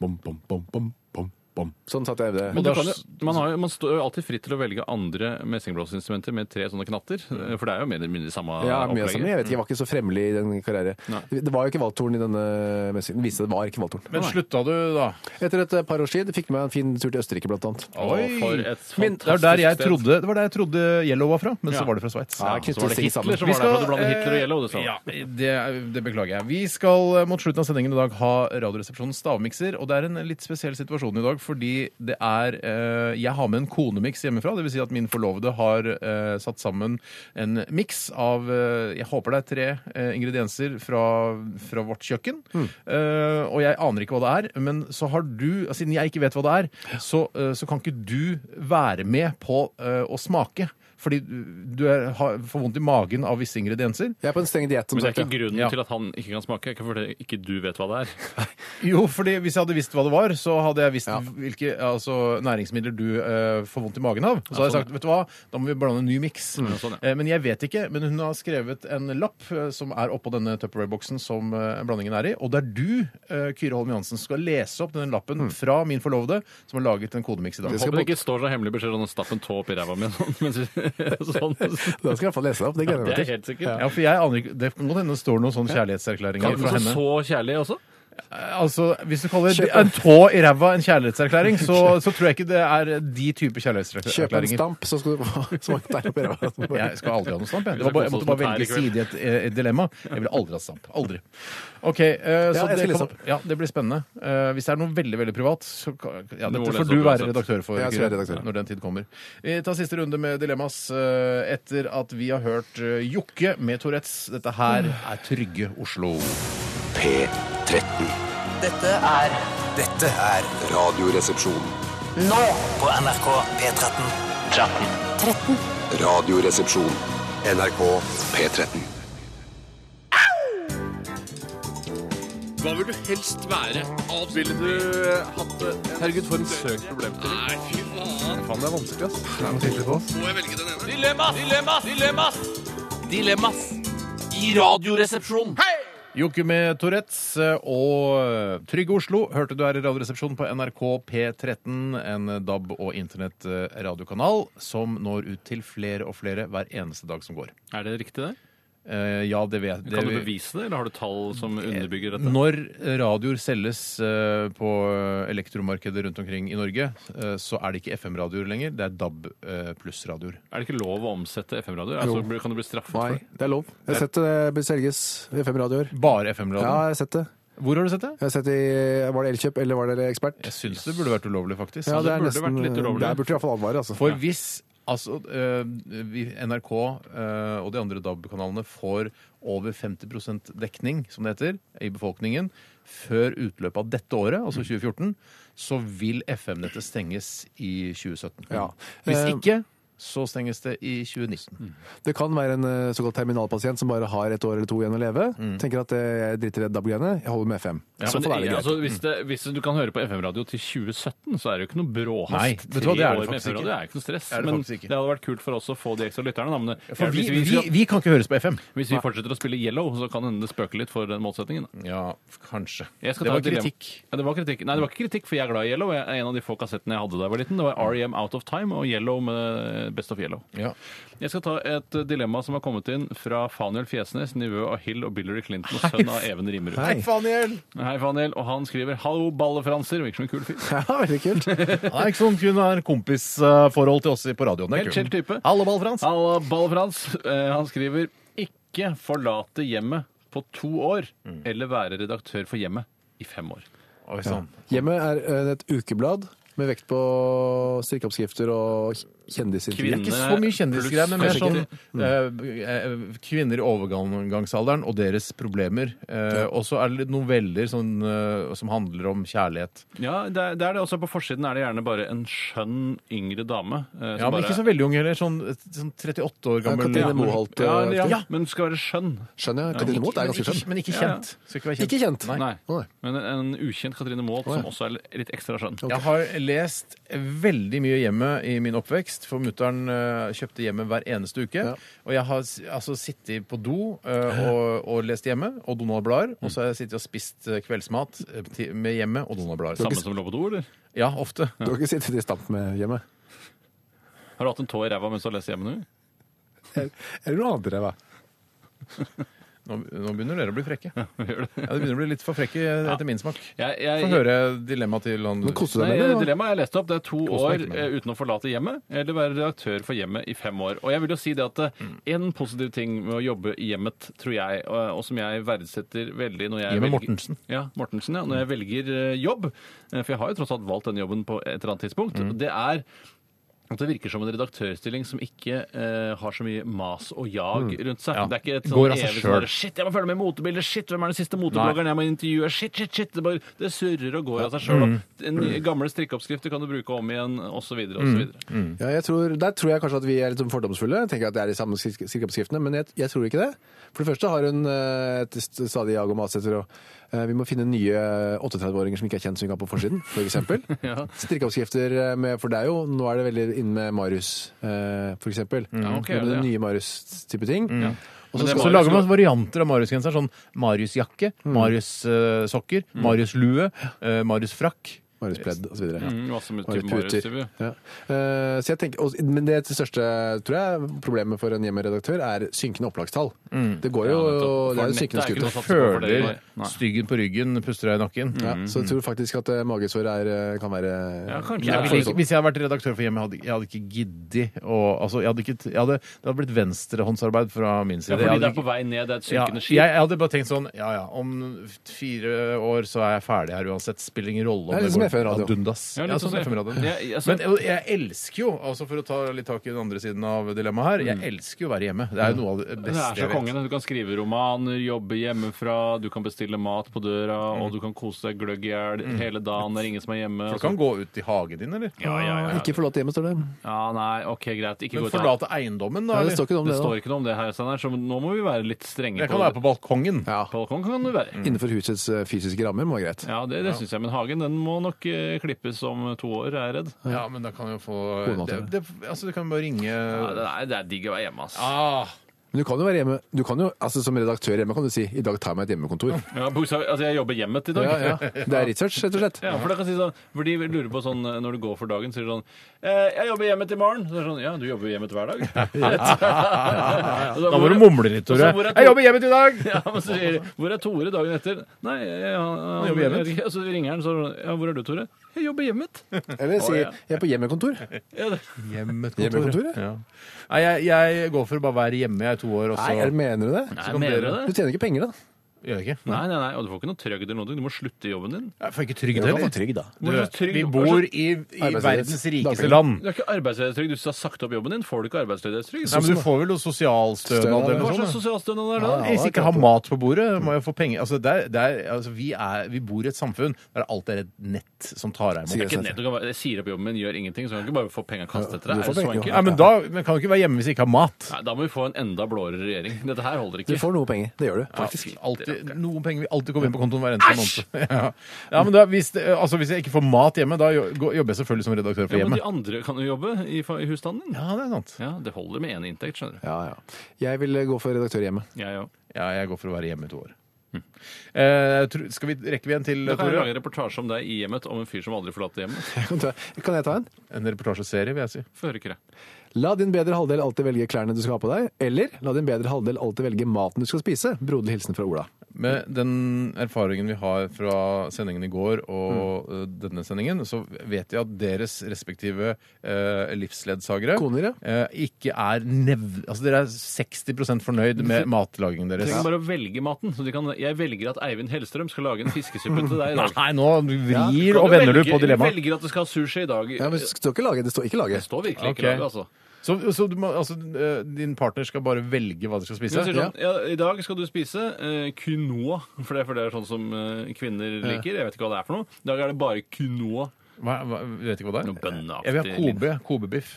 S4: bom, bom, bom, bom, bom, bom. Sånn satt jeg
S3: Men
S4: øvde.
S3: du kan jo, man, har, jo- man står jo alltid fritt til å velge andre messingblåseinstrumenter med tre sånne knatter.
S2: Mm.
S3: For det er jo mer eller mindre samme
S4: Ja, mye av
S3: opplegget.
S4: sammen. Jeg vet ikke, jeg var ikke så fremmelig i den karriere. Det var jo ikke valthorn i denne messingen. Det viste seg det var ikke valthorn.
S2: Men slutta du, da?
S4: Etter et eh, par års tid fikk jeg meg en fin tur til Østerrike, blant annet.
S3: Å, for et
S2: Men det, er
S3: fantastisk
S2: der jeg
S3: sted.
S2: trodde, det var der jeg trodde Yellow var fra, men
S3: Ja.
S2: så var det fra Sveits.
S4: Ja,
S3: Så var det
S4: Sting sammen.
S3: Hitler som
S2: Vi
S3: var
S2: skal,
S3: der for at du blander Hitler og
S2: eh,
S3: Yellow, du sa.
S2: Ja, det, det beklager jeg. Vi skal eh, mot slutten av sendingen i dag ha Radioresepsjonens stavmikser. Og det er en litt spesiell situasjon i dag, fordi det er eh, Jeg har med en konemiks hjemmefra. Dvs. Si at min forlovede har eh, satt sammen en miks av eh, Jeg håper det er tre eh, ingredienser fra, fra vårt kjøkken. Eh, og jeg aner ikke hva det er, men så har du Siden jeg ikke vet hva det er, så, eh, så kan ikke du være med på eh, å smake. Fordi du er, har, får vondt i magen av visse ingredienser.
S4: Jeg er på en streng diett, som
S3: Men det er
S4: sagt.
S3: ikke
S4: ja.
S3: grunnen
S2: Ja.
S3: til at han ikke kan smake. Ikke fordi ikke du vet hva det er.
S2: Jo, fordi hvis jeg hadde visst hva det var, så hadde jeg visst hvilke altså, næringsmidler du eh, får vondt i magen av. Så hadde jeg sagt vet du hva, da må vi blande en ny miks.
S3: sånn,
S2: Eh, men jeg vet ikke. Men hun har skrevet en lapp eh, som er oppå denne Tupperware-boksen som eh, blandingen er i. Og der du, eh, Kyrre Holm Johansen, skal lese opp denne lappen fra min forlovede, som har laget en kodemiks i dag.
S3: Håper det ikke står så hemmelig beskjed om å stappe en tå opp i ræva mi. Sånn, mens- sånn.
S4: Da skal jeg i hvert fall lese det opp. Det gleder
S3: Det
S4: jeg
S3: er
S4: meg til.
S3: helt sikkert.
S2: Ja, for jeg aner ikke, Det kan godt hende det står noen sånne kjærlighetserklæringer
S3: Kan
S2: fra
S3: den
S2: henne.
S3: så kjærlig også?
S2: Altså, hvis du kaller
S4: Kjøp
S2: en tå i ræva en kjærlighetserklæring, så, så tror jeg ikke det er de type
S4: Kjøp en
S2: kjærlighetserklæringer.
S4: stamp, så skal du få smak der oppe i ræva.
S2: Jeg skal aldri ha noe stamp. Jeg, det var bare, jeg måtte bare velge side i et, eh, et dilemma. Jeg ville aldri hatt stamp. Aldri. OK, eh, så
S4: Ja, jeg skal
S2: det,
S4: lese
S2: kan,
S4: opp.
S2: ja, det blir spennende. Eh, hvis det er noe veldig veldig privat, så kan- ja,
S3: Du må
S2: dette
S3: lese
S2: får du
S3: opp
S2: være
S3: uansett.
S2: redaktør for
S4: Jeg skal være
S2: Kyrre,
S4: redaktør.
S2: når den tid kommer. Vi tar siste runde med dilemmas eh, etter at vi har hørt eh, Jokke med Tourettes. Dette her
S4: Mm.
S2: er Trygge Oslo.
S5: P13.
S10: Dette er Dette er
S5: Radioresepsjon.
S10: Nå på NRK P13. 13.
S5: Radioresepsjon. NRK P13.
S8: Hva vil du helst være? Ville du eh, hatt det? Herregud, for en søk problemstilling. Nei, fy faen.
S4: Faen, det er vanskelig, ass. Det er noe tydelig på oss.
S8: Må jeg velge den ene? Dilemmas! Dilemmas! Dilemmas! Dilemmas i Radioresepsjonen.
S2: Jokke med Tourettes eh, og Trygge Oslo hørte du her i Radioresepsjonen på NRK P13, en DAB- og internettradiokanal som når ut til flere og flere hver eneste dag som går.
S3: Er det riktig, det?
S2: Eh, ja, det vet det,
S3: Kan du bevise det, eller har du tall som underbygger dette?
S2: Når eh, radioer selges eh, på elektromarkedet rundt omkring i Norge, eh, så er det ikke FM-radioer lenger, det er DAB eh, pluss-radioer.
S3: Er det ikke lov å omsette FM-radioer? Altså, kan du bli straffet
S4: Nei,
S3: for det?
S4: det er lov. Jeg har sett det bør selges i fem radioer.
S2: Bare
S4: Ja,
S2: FM-radioer.
S4: jeg har sett det.
S2: Hvor har du sett det?
S4: Jeg har sett i, Var det Elkjøp, eller var det Ekspert?
S2: Jeg syns det burde vært ulovlig, faktisk.
S4: Ja, det er
S3: burde vært
S4: nesten
S3: litt ulovlig.
S4: Der burde i hvert fall advare, altså.
S2: For hvis altså, øh, vi- NRK øh, og de andre DAB-kanalene får over 50 dekning, som det heter, i befolkningen før utløpet av dette året,
S3: Mm.
S2: altså 2014, så vil FM-nettet stenges i 2017.
S4: Ja.
S2: Hvis
S4: Eh,
S2: ikke, så stenges det i
S3: Mm.
S2: 2019.
S4: Det kan være en eh, såkalt terminalpasient som bare har et år eller to igjen å leve. Tenker at eh, jeg driter i det DAB-greiene, jeg holder med FM. I
S2: Sånn
S3: Mm.
S4: så
S3: Men
S4: fall er det greit.
S3: altså, hvis, det, hvis du kan høre på FM-radio til 2017, så er det jo ikke noe bråhast.
S2: Nei, vet du hva, det er det
S3: Tre år med
S2: faktisk ikke.
S3: FM-radio, Det er jo ikke noe stress.
S2: Det er det
S3: men
S2: faktisk ikke.
S3: det hadde vært kult for oss å få de ekstra lytterne. da, Men det-
S2: For vi,
S3: hvis, vi,
S2: vi, vi kan ikke høres på FM.
S3: hvis vi fortsetter å spille Yellow, så kan hende det spøker litt for den målsettingen. da.
S2: Ja, kanskje.
S3: Jeg skal
S2: Det var
S3: ta et dilemma.
S2: kritikk.
S3: Ja, det var kritikk. Nei, det var ikke kritikk, for jeg er glad i Yellow. Jeg er en av de få kassettene jeg hadde da jeg var liten. Det var REM Out of Time og Yellow med Best of Yellow.
S2: Ja.
S3: Jeg skal ta et eh, dilemma som har kommet inn fra Faniel Fjesnes, nivå av Hill og Billary Clinton og sønn av Even Rimerud. Hei,
S2: Hei, Faniel!
S3: Faniel. Og han skriver 'Hallo, ballefranser'. Virker som en kul fyr.
S4: Ja, veldig kult.
S2: Han er ikke sånn kun har kompisforhold til oss i- på radioen. Det er
S3: Helt
S2: kult.
S3: chill type.
S2: Hallo, Ball-Frans.
S3: Halla, Ball-Frans. Eh, Han skriver 'Ikke forlate hjemmet på to år',
S2: Mm.
S3: eller være redaktør for Hjemmet i fem år.
S2: Oi sånn. sann.
S4: Hjemmet er eh, et ukeblad med vekt på strikkeoppskrifter og kjendisintervjuer.
S3: Kvinne-
S2: Ikke så mye kjendisgreier, men mer
S4: Kanskje
S2: sånn eh, eh, kvinner i overgangsalderen og deres problemer. Eh, og så er det litt noveller sånn, eh, som handler om kjærlighet.
S3: Ja, det er det. er det. Også på forsiden er det gjerne bare en skjønn yngre dame. eh, som
S2: Ja, men
S3: bare-
S2: ikke så veldig ung heller. Sånn, sånn 38 år
S4: Ja,
S2: gammel.
S4: Katrine Moholt,
S3: Ja, ja,
S4: aktig.
S3: ja, men skal være skjønn.
S4: Skjønner jeg. Katrine Moholt er
S2: Men
S4: ganske skjønn.
S2: ikke- Men ikke
S3: Ja, ja.
S2: kjent. Skal ikke være
S4: Ikke kjent.
S2: Nei.
S3: Nei.
S4: Å, nei.
S3: Men en ukjent Katrine Moholt som
S4: ja.
S3: også er litt ekstra skjønn.
S2: Jeg har lest veldig mye hjemme i min oppvekst, for mutter'n eh, kjøpte hjemme hver eneste uke.
S4: Ja.
S2: Og jeg har s- altså, sittet på do eh, og, og lest hjemme og Donald-blader. Og så har jeg sittet og spist eh, kveldsmat eh, ti- med hjemme og Donald-blader.
S3: Samme som lå på do, eller?
S2: Ja, ofte.
S4: Du har ikke sittet i stamp med hjemmet?
S3: Har du hatt en tå i ræva mens du har lest hjemme nå?
S4: Eller noe annet ræva?
S2: Nå, nå begynner dere å bli frekke. Ja,
S3: Gjør det.
S2: Dere begynner å bli litt for frekke eh, etter min smak.
S3: Jeg, jeg,
S2: Få høre dilemmaet til han
S4: Men koste deg
S3: Nei, eh,
S4: med det? da?
S3: dilemmaet jeg leste opp, det er to
S2: meg
S3: år
S2: ikke med
S3: eh, uten å forlate hjemmet, eller være redaktør for hjemmet i fem år. Og jeg vil jo si det at eh,
S2: Mm.
S3: en positiv ting med å jobbe i hjemmet, tror jeg, og, og som jeg verdsetter veldig når jeg
S2: Hjemmet
S3: velger-
S2: Mortensen.
S3: Ja, Mortensen, ja. Når jeg velger eh, jobb, eh, for jeg har jo tross alt valgt den jobben på et eller annet tidspunkt,
S2: Mm.
S3: det er at det virker som en redaktørstilling som ikke eh, har så mye mas og jag rundt
S2: Mm.
S3: seg.
S2: Ja.
S3: Det er ikke et
S2: Går
S3: sånn
S2: av seg
S3: evig
S2: selv.
S3: sånn der, Shit, jeg må følge med i motebildet! Shit, hvem er den siste motebloggeren jeg må intervjue? Shit, shit, shit! Det, bare, det surrer og går av seg sjøl. Gamle strikkeoppskrifter kan du bruke om igjen, osv. videre
S4: Ja, jeg tror, der tror jeg kanskje at vi er litt sånn fordomsfulle. Jeg tenker at det er de samme skrik- skrikeoppskriftene, men jeg, jeg tror ikke det. For det første har hun eh, et st- stadig jag og mas etter å eh, Vi må finne nye 38-åringer som ikke er kjent, som vi kan ha på forsiden, f.eks. ja. Strikkeoppskrifter eh, med For det er jo Nå er det veldig inne med Marius, eh, f.eks. Ja,
S3: ok, ja, det, Mm. ja.
S4: Den nye Marius-type ting. Og
S3: Men det Mm.
S4: så
S3: var-
S4: skal
S2: Så lager man varianter av
S3: Mm.
S2: Marius-genseren. Sånn Marius-jakke, Marius-sokker, Marius-lue, eh, Marius-frakk.
S4: Mariuspledd osv. Ja.
S3: Mm, masse med
S4: Marius
S3: type Marius, type.
S4: Ja. Eh, så jeg tenker, og, men det største tror jeg, problemet for en hjemmeredaktør er synkende opplagstall. Det går jo
S3: Mm. nettopp.
S4: Det er
S3: For
S4: jo synkende
S3: nettet er ikke noe
S4: skuter.
S3: sånn-
S2: Føler
S3: Nei. Mm.
S2: styggen på ryggen, puster deg i nakken.
S4: Ja, så jeg tror faktisk at eh, magesåret er, eh, kan være
S3: Ja, kanskje.
S2: Jeg
S3: Ja,
S2: ville ikke, hvis jeg hadde vært redaktør for Hjemmet, hadde, jeg hadde ikke giddet å altså, jeg hadde ikke, jeg hadde, Det hadde blitt venstrehåndsarbeid fra min side.
S3: fordi
S2: Jeg hadde
S3: det er
S2: ikke-
S3: på vei ned, det er et
S2: ja,
S3: synkende
S2: jeg,
S3: skip.
S2: jeg hadde bare tenkt sånn Ja ja, om fire år så er jeg ferdig her uansett. Spiller ingen rolle om
S4: Det er litt som FM
S2: ad
S4: Radio.
S2: undas.
S3: Ja, litt
S2: Ja, sånn
S3: sånn
S2: som FM-radio.
S3: Ja, jeg- altså-
S2: Men jeg, jeg elsker jo, altså for å ta litt tak i den andre siden av dilemmaet her, jeg elsker jo å være hjemme. Det er jo noe av det
S3: Mm. Det er
S2: beste
S3: så
S2: jeg vet.
S3: kongen. Du kan skrive romaner, jobbe hjemmefra, du kan bestille mat på døra, og du kan kose deg gløgg i hjel hele dagen, det er ingen som er hjemme.
S2: Du kan gå ut i hagen din, eller?
S3: altså. Ja, ja, ja.
S4: Ikke forlate hjemmet, står det.
S3: ja, nei, OK, greit. Ikke
S2: Men
S3: gå ut av
S2: forlate eiendommen, da?
S4: Ja, det
S2: Eller?
S4: står ikke noe om
S3: Det
S4: det, da.
S3: står ikke noe om det her, Steinar, så nå må vi være litt strenge
S2: Jeg kan være på balkongen.
S4: Ja.
S3: balkong. Kan du være.
S4: Innenfor husets eh, fysiske rammer må være greit.
S3: Mm. Ja, det, det syns jeg. Men hagen den må nok eh, klippes om to år, er jeg redd.
S2: Ja, men da kan jeg jo få
S4: Kona
S2: det,
S4: til
S2: det, Altså, du kan bare ringe
S3: Ja, det, er, det er digg å være hjemme, ass.
S2: ah,
S4: Men du kan jo være hjemme. Du kan jo, altså Som redaktør hjemme kan du si 'i dag tar jeg meg et hjemmekontor'.
S3: Ja, bokstav- altså, jeg jobber hjemmet i dag.
S4: Ja, ja. Det er research, rett og slett.
S3: Ja, for da kan jeg si sånn, for De lurer på sånn eh, når du går for dagen, sier du sånn eh, 'Jeg jobber hjemmet i morgen.' Så er det sånn, Ja, du jobber jo hjemmet hver dag.
S2: Da må du mumle litt, Tore.
S3: Og så hvor er
S2: Jeg jobber hjemme i dag!
S3: Ja, men så sier de 'Hvor er Tore dagen etter?' Nei, jeg, han, han
S2: jobber hjemmet.
S3: jeg vet ikke. Og så ringer han, så er det sånn 'Ja, hvor er du, Tore?' 'Jeg jobber hjemmet'.
S4: Eller si
S3: Å, ja.
S4: 'jeg er på hjemmekontor'.
S3: Ja, det,
S4: Hjemmekontoret?
S2: Ja. Nei, jeg, jeg går for å bare være hjemme jeg i to år, og så
S4: Nei, jeg mener du det?
S3: nei,
S2: kan
S3: mener
S2: dere-
S3: du
S4: Du
S3: det?
S4: tjener ikke penger, da.
S2: gjør jeg ikke.
S3: Nei, nei, nei, og du får ikke noe trøgg eller noe. Du må slutte i jobben din.
S2: Jeg får ikke trygd
S4: Du kan få
S2: heller.
S4: trygg, da.
S2: Du,
S3: Hvor er trygd-
S2: vi bor i, i verdens rikeste
S4: Dagpenger.
S2: land.
S3: Du er ikke arbeidsledighetstrygd. Du har sagt opp jobben din. Får du ikke arbeidsledighetstrygd?
S2: Nei, men du får sånn, vel noe sosialstønad eller noe
S3: Hva slags
S2: sånt? da?
S3: sosialstønad er det? da?
S2: Hvis ikke har mat på bordet, må jeg få penger. Altså, det er, det er, altså, vi, er, vi bor i et samfunn der alt er et nett som tar deg
S3: Det er
S2: imot.
S3: ikke nett. Du kan bare, jeg sier opp jobben min, gjør ingenting, så kan du ikke bare få penger kastet etter deg. Er
S4: Ja, du
S3: det
S4: får
S3: så
S4: penger,
S3: enkelt?
S4: jo.
S2: Ja, men da men kan du ikke være hjemme hvis vi ikke har mat.
S3: Nei, da må vi få en enda blåere regjering. Dette her holder
S4: Du
S3: ikke.
S4: får noe penger. Det gjør du,
S2: Ja,
S4: faktisk.
S2: alltid, noen penger vil alltid komme inn på kontoen hver eneste måned. Ja. ja, men da, hvis, det, altså, hvis jeg ikke får mat hjemme, da jo- går- jobber jeg selvfølgelig som redaktør for
S3: Ja,
S2: hjemmet.
S3: men de andre kan jo jobbe i, fa- i husstanden din.
S2: Ja, det er sant.
S3: Ja, Det holder med én inntekt, skjønner du.
S4: Ja, ja. Jeg vil gå for redaktør hjemme.
S3: Jeg òg.
S2: Ja, jeg går for å være hjemme i to år. Eh, tro- skal vi rekke vi en til,
S3: Da Hm. kan jeg lage
S2: Tore?
S3: en reportasje om deg i hjemmet om en fyr som aldri forlater hjemmet.
S4: Kan jeg ta en?
S2: En reportasjeserie, vil jeg si.
S3: Få høre, Kyrre.
S4: La din bedre halvdel alltid velge klærne du skal ha på deg, eller la din bedre halvdel alltid velge maten du skal spise. Broderlig hilsen fra Ola.
S2: Med den erfaringen vi har fra sendingen i går og
S3: Mm.
S2: eh, denne sendingen, så vet jeg at deres respektive eh, livsledsagere
S4: Koner, ja.
S2: eh, ikke er nev... Altså, dere er 60 fornøyd med matlagingen
S3: Du
S2: deres.
S3: trenger bare å velge maten. Så de kan, jeg velger at Eivind Hellstrøm skal lage en fiskesuppe til deg i dag.
S2: Nei, nå vrir
S3: Kan
S2: og vender du
S3: velge-
S2: på dilemmaet.
S3: Velger at du skal ha sushi i dag.
S4: Ja, men det står ikke lage. Det står ikke lage.
S3: Det står virkelig
S2: Ok.
S3: ikke laget, altså.
S2: Så, så du må, altså, eh, din partner skal bare velge hva de skal spise?
S3: Men jeg sier sånn, ja, I dag skal du spise eh, quinoa, for det, for det er sånn som eh, kvinner liker. Jeg vet ikke hva det er for noe. I dag er det bare quinoa.
S2: Hva, hva, vet ikke hva det
S3: Noe
S2: er?
S3: bønneaktig
S2: Jeg vil ha kobe. Kobebiff.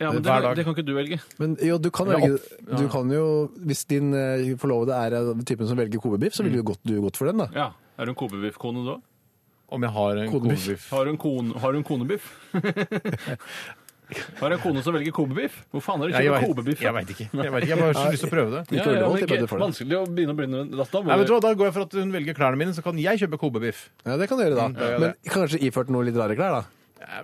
S3: Ja, men det,
S2: Hver dag.
S3: det kan ikke du velge.
S4: Men jo, du kan
S2: Eller
S4: velge
S2: opp.
S4: Du kan jo Hvis din eh, forlovede er av typen som velger kobebiff, så ville jo godt, du gått for den, da.
S3: Ja. Er du en kobebiffkone du òg?
S2: Om jeg har en
S4: Kobebiff.
S2: kobebiff?
S3: Har du en, kon, har du en konebiff? har du en kone som velger kobebiff? Hvor faen er det
S2: Nei,
S3: kjøper
S2: jeg vet-
S3: kobebiff?
S2: jeg vet ikke. Jeg, vet ikke. jeg har bare så lyst til å prøve det.
S3: Ja,
S4: Ikke
S3: ja,
S4: Ullevål,
S3: men
S4: tipper jeg
S3: ikke,
S4: du får det.
S3: vanskelig å begynne å brenne med dette.
S2: Nei, vet du hva, Da går jeg for at hun velger klærne mine, så kan jeg kjøpe kobebiff.
S4: Ja, det kan du gjøre, da.
S2: gjør
S4: Men kanskje iført noe litt rare klær, da.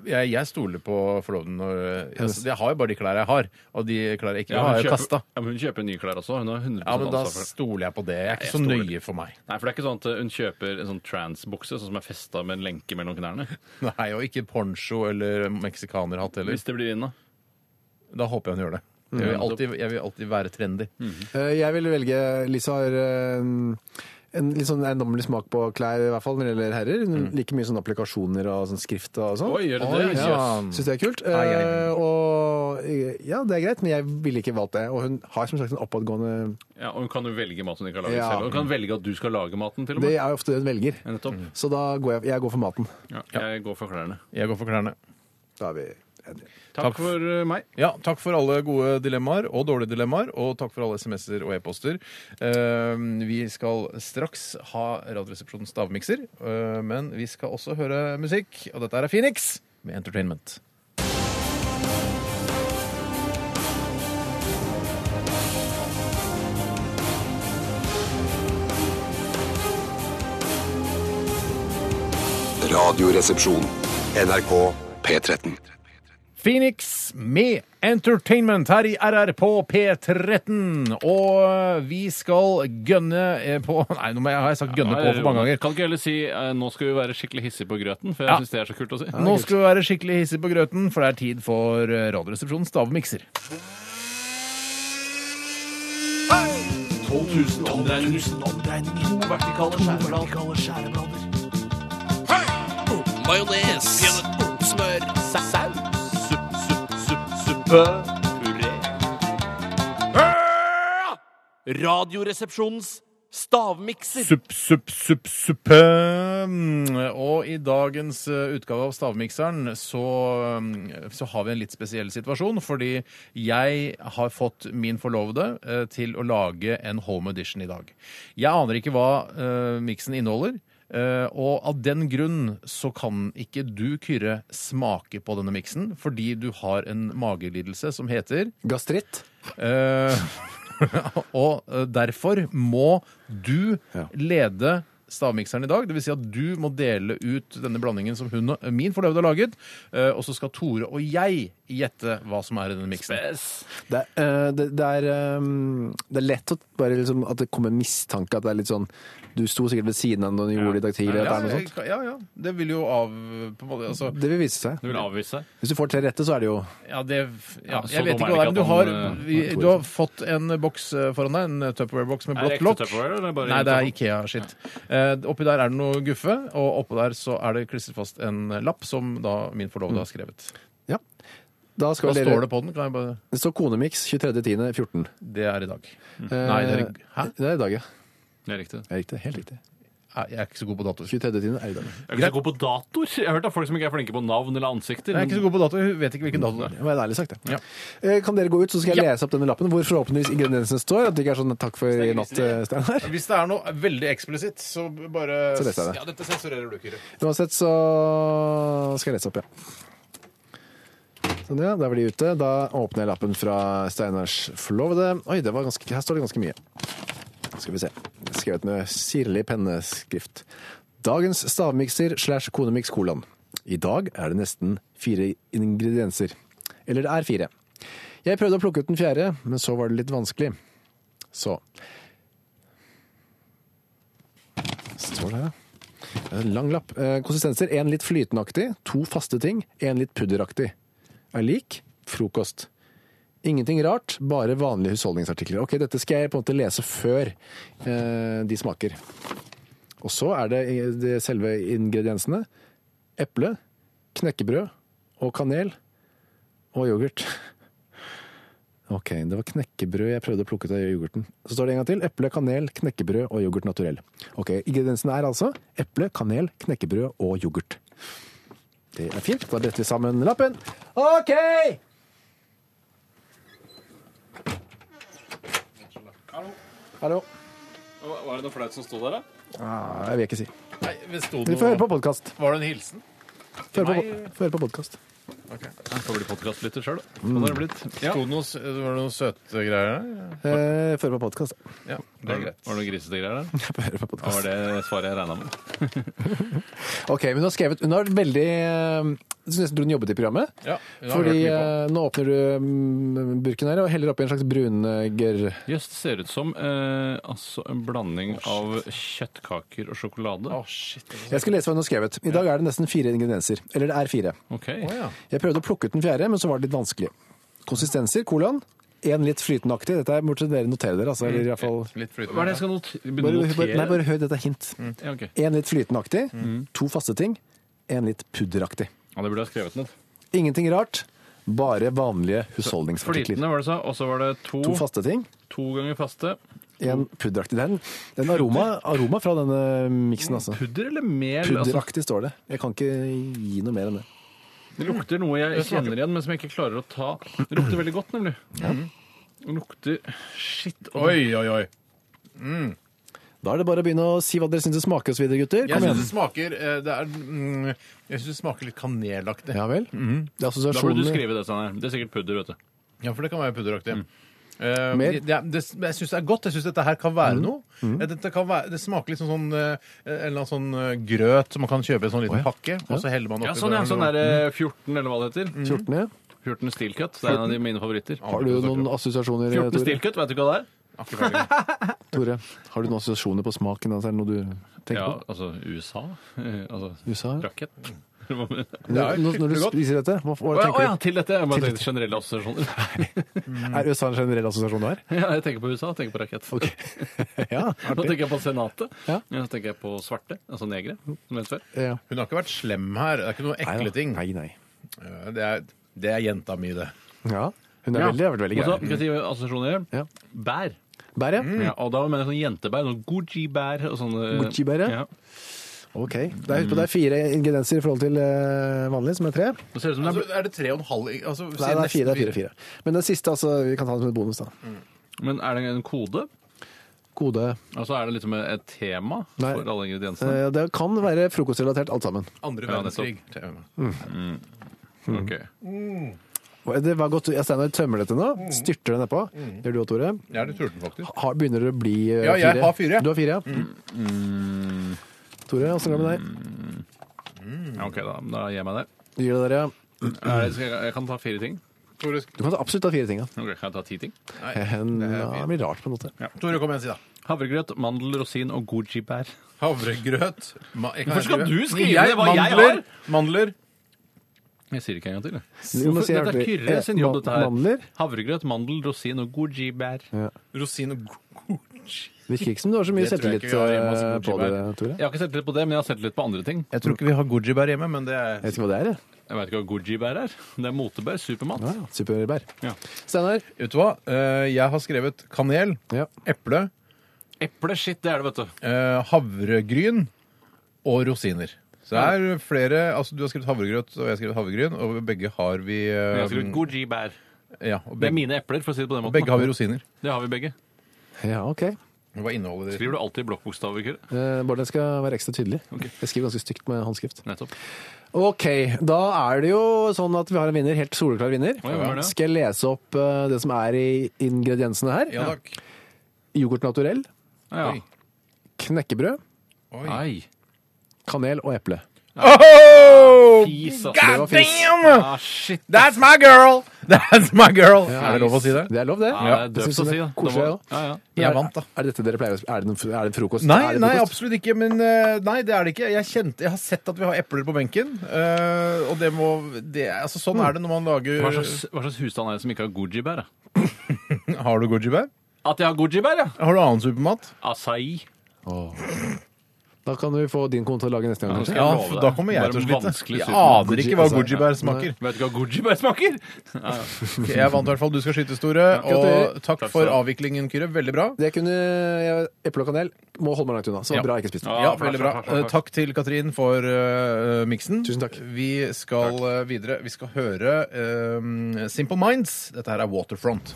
S2: Jeg, jeg stoler på forloveden. Når, altså, jeg har jo bare de klærne jeg har, og de klærne jeg ikke har, har jeg kasta.
S3: ja, men hun kjøper nye klær også. Hun har 100
S2: Ja, men da
S3: ansvar for det.
S2: stoler jeg på det. Jeg er
S3: Jeg
S2: ikke så
S3: stoler.
S2: nøye for meg.
S3: Nei, for det er ikke sånn at eh, hun kjøper en sånn transbukse sånn som er festa med en lenke mellom knærne.
S2: Nei, Og ikke poncho eller meksikanerhatt heller.
S3: Hvis Mm, det blir inn, da.
S2: Da håper jeg hun gjør det. Jeg vil alltid, jeg vil alltid være trendy.
S3: Mm.
S4: Eh, Jeg vil velge Lisa har eh, en litt sånn eiendommelig smak på klær, i hvert fall når det gjelder herrer. Hun liker mye sånne applikasjoner og sånn skrift og sånn.
S3: Oi, gjør det
S2: Mm. Oi,
S3: det?
S2: ja.
S3: Jøss.
S4: Syns det er kult.
S2: Ai, ai, ai.
S4: Eh, og eh, ja, det er greit, men jeg ville ikke valgt det. Og hun har som sagt en oppadgående
S3: Ja, og hun kan jo velge mat hun ikke har laget
S4: Ja.
S3: selv. Og hun kan velge at du skal lage maten, til og
S4: Det
S3: med.
S4: er jo ofte det hun velger. Mm.
S3: Ja, Nettopp.
S4: Så da går jeg, jeg går for maten.
S3: Ja, jeg går for klærne.
S2: Jeg går for klærne.
S4: Da er vi enige.
S3: Takk, for eh, meg.
S2: Ja, takk for alle gode dilemmaer og dårlige dilemmaer, og takk for alle SMS-er og e-poster. Eh, vi skal straks ha Radioresepsjonens stavmikser, eh, men vi skal også høre musikk, og dette er Phoenix med Entertainment.
S5: Radioresepsjon. NRK P13.
S2: Phoenix med Entertainment her i RR på P13. Og vi skal gønne eh, på Nei, nå må jeg- har jeg sagt gønne på for mange ganger.
S3: Kan ikke heller si eh, 'nå skal vi være skikkelig hissige på grøten', for jeg
S2: Ja.
S3: synes syns det er så kult å si.
S2: Nå skal vi være skikkelig hissig på grøten, for det er tid for eh, Radioresepsjonens stavmikser.
S8: 12 000 omdreininger. To vertikale skjæreblader. Majones. Smør. Saus. Supp, supp, supp, suppe. Puré. Radioresepsjonens stavmikser.
S2: Supp, supp, supp, suppe. Mm, Og i dagens eh, utgave av Stavmikseren så, mm, så har vi en litt spesiell situasjon, fordi jeg har fått min forlovede eh, til å lage en home edition i dag. Jeg aner ikke hva eh, miksen inneholder. eh, og av den grunn så kan ikke du, Kyrre, smake på denne miksen, fordi du har en magelidelse som heter
S4: Gastritt.
S2: Eh, og eh, derfor må du lede stavmikseren i dag. Det vil si at du må dele ut denne blandingen som hun og min forlovede har laget. eh, Og så skal Tore og jeg gjette hva som er i denne miksen.
S4: Det er, eh, det, det, er, eh, det er lett at, bare liksom, at det kommer mistanke at det er litt sånn Du sto sikkert ved siden av når du gjorde det i dag tidlig. At det er noe sånt.
S2: Ja, eh, ja, ja. Det vil jo av på en måte, altså,
S4: Det vil vise seg.
S3: Du vil avvise?
S4: Hvis du får tre rette, så er det jo
S2: ja, det, ja,
S3: Ja, så
S2: Jeg vet
S3: dum
S2: ikke
S3: er
S2: hva det er, men du
S3: det ikke at
S2: har,
S3: han, eh,
S2: vi, du har fått en boks eh, foran deg, en Tupperware-boks med
S3: Er
S2: blått
S3: det ekte
S2: lokk.
S3: Tupperware, eller er det bare
S2: Nei, det er
S3: Tupperware?
S2: Ikea-skitt. Eh, oppi der er det noe guffe, og oppå der så er det klistret fast en lapp som da min forlovede
S4: Mm.
S2: har skrevet.
S4: Ja. Da skal
S2: Hva
S4: vi
S2: står det på den? Kan jeg bare...
S4: Det står Konemix 23.10.14.
S2: Det er i dag. Nei, det er i- Hæ?
S4: Eh, Det er i dag, ja.
S3: Det er riktig.
S4: Det er riktig. Helt riktig.
S2: Nei, Jeg er ikke så god på datoer.
S4: 23.10. er i dag.
S3: Jeg er ikke så god på datoer. Jeg har hørt av folk som ikke er flinke på navn eller ansikter.
S2: Jeg er ikke så god på datoer. Hun vet ikke hvilken dato det er.
S4: Det var ærlig sagt, det.
S2: Ja.
S4: Eh, Kan dere gå ut, så skal jeg
S2: Ja.
S4: lese opp denne lappen hvor forhåpentligvis ingrediensene står? At det ikke er sånn 'takk for i natt', eh, Steinar.
S2: Hvis det er noe veldig eksplisitt, så bare
S4: Så leser jeg det.
S2: Ja, dette sensurerer du, Kyrre.
S4: Uansett så skal jeg lese opp, ja. Sånn, ja. Da var de ute. Da åpner jeg lappen fra Steinars forlovede. Oi, det var ganske, her står det ganske mye. Skal vi se. Skrevet med sirlig penneskrift. Dagens stavmikser slash konemiks kolon. I dag er det nesten fire ingredienser. Eller det er fire. Jeg prøvde å plukke ut den fjerde, men så var det litt vanskelig. Så Står det her, ja. En lang lapp. Eh, Konsistenser. Én litt flytenaktig, to faste ting, én litt pudderaktig. Er lik frokost. Ingenting rart, bare vanlige husholdningsartikler. Ok, Dette skal jeg på en måte lese før eh, de smaker. Og så er det, eh, det selve ingrediensene. Eple, knekkebrød og kanel og yoghurt. Ok, det var knekkebrød jeg prøvde å plukke ut av yoghurten. Så står det en gang til. Eple, kanel, knekkebrød og yoghurt naturell. Ok, Ingrediensene er altså eple, kanel, knekkebrød og yoghurt. Det er fint. Da bretter vi sammen lappen. OK! Hallo.
S3: Var det noe flaut som sto der, da?
S4: Ah, jeg vil ikke si.
S2: Nei, det sto
S4: Vi får høre
S2: noe
S4: på podkast.
S2: Var det en hilsen?
S4: Får høre på, får høre på podcast.
S3: Jeg får bli podkastlytter sjøl, da. Sånn har det blitt. Ja.
S2: Sto Mm. det noe, s- var det noen søte greier der?
S4: Eh, får høre på podkast.
S2: Ja, det er greit.
S3: Var det noe grisete greier der?
S4: Jeg får høre
S3: Hva
S4: på
S3: var
S4: podcast.
S3: det svaret jeg regna med?
S4: Ok, men Hun har skrevet Hun har vært veldig eh, Jeg synes nesten tror hun jobbet i programmet.
S2: Ja, hun har
S4: Fordi
S2: hørt mye på.
S4: eh, nå åpner du mm, burken her og heller oppi en slags eh, brunegger...
S3: Jøss, det ser ut som eh, altså en blanding av kjøttkaker og sjokolade.
S2: Å, shit.
S4: Jeg skal lese hva hun har skrevet. I dag er det nesten fire ingredienser. Eller det er fire.
S3: Ok.
S2: Å, ja.
S4: Jeg prøvde å plukke ut den fjerde, men så var det litt vanskelig. Konsistenser, kolon. En litt flytenaktig. Dette burde dere notere dere. Altså, eller i hvert fall...
S2: Litt flytende.
S3: Hva er det jeg skal note- begynne å
S4: Bare, bare, nei,
S3: notere?
S4: bare hør, dette er hint.
S2: Mm.
S3: Ja, ok.
S4: En litt flytenaktig, to faste ting, en litt pudderaktig.
S3: ja, det burde jeg skrevet ned.
S4: Ingenting rart, bare vanlige husholdningsartikler.
S3: Flytende var det sa, og så var det to,
S4: To faste ting,
S3: to ganger faste.
S4: en
S3: Mm.
S4: pudderaktig. Det er en, det er en aroma, aroma fra denne miksen, altså.
S3: Pudder eller mel? Altså,
S4: Pudderaktig står det. Jeg kan ikke gi noe mer enn det.
S3: det lukter noe jeg kjenner igjen, men som jeg ikke klarer å ta. Det lukter veldig godt, nemlig. Det lukter Shit. og-
S2: Oi, oi, oi.
S4: Da er det bare å begynne å si hva dere syns det smaker osv., gutter.
S2: Jeg
S4: Kom
S2: syns
S4: igjen.
S2: det smaker eh, det er, mm, Jeg synes det smaker litt kanelaktig.
S4: Ja vel. Det er
S3: Mm. Da burde du
S4: assosiasjoner.
S3: skrive det, Steinar. Det er sikkert pudder, vet du.
S2: Ja, for det kan være pudderaktig. Eh,
S4: Mer?
S2: det- det, det, jeg syns det er godt. Jeg syns dette her kan være noe. Eh, Dette kan være, det smaker litt som sånn, eh, en eller annen sånn eh, grøt som man kan kjøpe i en sånn liten pakke, og så heller man oppi
S3: Ja, sånn, ja, sånn er det 14, eller hva det heter.
S4: 14, ja.
S3: 14 Steel Cut. Det er en av de mine favoritter.
S4: Har du noen assosiasjoner,
S3: 14
S4: Tore?
S3: Steel Cut, vet du hva det er?
S4: Tore? Har du noen assosiasjoner på smaken? Altså, er det noe du tenker
S3: Ja,
S4: på?
S3: altså USA. Eh, Altså
S4: USA? ja.
S3: rakett. Hva mener du?
S4: Når, når, når du
S2: godt.
S4: spiser dette, hva, hva
S3: Å ja, å
S4: tenker
S3: ja, til dette. Jeg bare
S4: Til
S3: tenkte generelle assosiasjoner.
S4: du? Er USA en generell assosiasjon du har?
S3: Ja, jeg tenker på USA, jeg tenker på rakett.
S4: Ja,
S3: Nå
S4: artig.
S3: tenker jeg på Senatet.
S4: Ja.
S3: Ja, så tenker jeg på svarte, altså negre. som het før.
S4: Ja.
S2: Hun har ikke vært slem her. Det er ikke noen
S4: Nei,
S2: ekle
S4: da.
S2: ting.
S4: Nei, nei.
S2: Eh, Det er, det er jenta mi, det.
S4: Ja, hun er
S3: Ja.
S4: veldig, har vært veldig
S3: Og så,
S4: grei.
S3: skal jeg si hva assosiasjoner gjør?
S4: Ja. Mm.
S3: Bær.
S4: Bær, ja.
S3: Ja, og da mener jeg sånn jentebær, sånn Gucci-bær og sånne
S4: Gucci-bær, ja.
S3: ja.
S4: Ok. Det er, husk på, det er fire ingredienser i forhold til eh, vanlig, som er tre. Nei,
S3: Det ser ut som det
S2: Altså,
S3: er,
S2: er det tre og en halv altså, si
S4: det er
S2: nesten
S4: fire, det er fire, fire. Men den siste, altså, vi kan ta den som et bonus, da.
S3: men er det en kode?
S4: Kode.
S3: Altså er det liksom et tema
S4: Nei.
S3: for alle ingrediensene?
S4: Eh, Det kan være frokostrelatert, alt sammen.
S2: Andre
S3: Ja,
S2: verdenskrig.
S3: Ok.
S4: Og Det var godt. Ja, Steinar tømmer dette nå. Styrter det nedpå. Gjør du òg, Tore?
S2: Jeg er litt sulten, faktisk.
S4: Har, begynner det å bli eh,
S2: Ja, jeg har fire. Mm.
S4: Du har fire, ja. Tore, åssen går det med deg?
S3: Mm. Ja, ok, da, da gir jeg meg der.
S4: Gir det dere? Mm.
S3: Er det, skal jeg, jeg kan ta fire ting.
S2: Tore,
S4: Du kan absolutt ta fire ting. Ja.
S3: Ok, kan jeg ta ti ting?
S4: En- ja, det blir rart på en måte.
S2: Tore kom igjen, si da.
S3: Havregrøt, mandel, rosin og Gucci-bær.
S2: Havregrøt ma jeg kan
S3: Hvorfor skal
S2: skrive-
S3: du skrive
S2: Jeg-
S3: ned hva jeg
S2: mandler, Mandler.
S3: Jeg sier det ikke en gang til. jeg.
S4: Du må si
S3: Dette er
S4: hjertelig.
S3: Kyrre sin jobb,
S4: Eh,
S3: dette her.
S4: Mandler?
S3: Havregrøt, mandel, rosin og Gucci-bær.
S2: Rosin og goji.
S4: Virker ikke som du har så
S2: Det tror jeg
S4: mye selvtillit
S2: ikke vi har hjemme hos
S4: eh, på det,
S2: Gucci-bær.
S4: Tore.
S3: Jeg har ikke sett litt på det, men jeg har sett litt på andre ting.
S2: Jeg tror ikke vi har goji-bær hjemme, men det er
S4: Jeg vet ikke hva det er, jeg.
S3: Jeg veit ikke hva Gucci-bær er. Det er motebær. Supermat.
S4: Ja, ja. Superbær.
S3: Ja.
S4: Steinar?
S2: Vet du hva? Eh, Jeg har skrevet kanel,
S4: Ja.
S2: eple,
S3: Eple, shit, det er det, vet du.
S2: eh, havregryn og rosiner. Så det er flere Altså, du har skrevet havregrøt, og jeg har skrevet havregryn, og begge har vi eh,
S3: Jeg har skrevet Gucci-bær.
S2: Ja, og
S3: Det er
S2: begge,
S3: mine epler, for å si det på den måten.
S2: begge har vi rosiner.
S3: Det har vi begge.
S4: Ja, ok.
S2: Hva er innholdet i det?
S3: Skriver du alltid blokkbokstaver, Kyrre?
S4: Eh, Bård, den skal være ekstra tydelig. Jeg skriver ganske stygt med håndskrift.
S3: Nettopp.
S4: Ok, da er det jo sånn at vi har en vinner, helt soleklar vinner.
S3: Oi, hva er det?
S4: Skal jeg lese opp eh, det som er i ingrediensene her?
S2: Ja takk.
S4: Yoghurt naturell,
S3: Ja.
S2: Oi.
S4: knekkebrød,
S3: Ai.
S4: kanel og eple.
S2: Oh!
S3: Fis, ass.
S4: Det var fint.
S2: Damn!
S3: Ah, shit.
S2: That's my girl! That's my girl! Er det lov å si det?
S4: Det er lov, det.
S3: Ja, det er
S4: Jeg
S3: døvt
S4: synes
S3: å si, da. Det
S4: Koselig, ja.
S3: var- ja, ja.
S2: Jeg vant, da.
S4: Er det dette dere pleier å spille? Er det en, er det en frokost?
S2: Nei,
S4: er det
S2: nei,
S4: frokost?
S2: absolutt ikke. Men eh, nei, det er det ikke. Jeg, kjente, jeg har sett at vi har epler på benken. eh, Og det må det, altså, Sånn er det når man lager
S3: Hva slags, hva slags husstand er det som ikke har Gucci-bær? da?
S2: Har du goji-bær?
S3: At jeg har Gucci-bær, ja!
S2: Har du annen supermat?
S3: Acai.
S4: Da kan du få din konto å lage neste gang.
S3: skal
S4: kanskje.
S3: jeg
S2: Ja,
S3: love deg.
S2: da kommer jeg
S3: Bare
S2: til å slite.
S3: vanskelig
S2: Jeg
S3: supermat.
S2: aner ikke hva
S4: Goji, altså,
S2: goji-bær smaker.
S3: Vet du hva Gucci-bær smaker?
S2: Ok, Jeg vant i hvert fall. Du skal skyte, Store. Og
S4: Gratulerer.
S2: takk
S3: Takk skal
S2: for
S3: du ha.
S2: avviklingen, Kyrre. Veldig bra.
S4: Det kunne jeg, Eple og kanel må holde meg langt unna. Så det var bra jeg ikke spiste.
S2: Ja,
S3: flaks,
S2: veldig bra.
S3: flaks, flaks,
S2: Eh, Takk til Katrin for eh, miksen.
S4: Tusen takk.
S2: Vi skal eh, videre. Vi skal høre eh, Simple Minds. Dette her er Waterfront.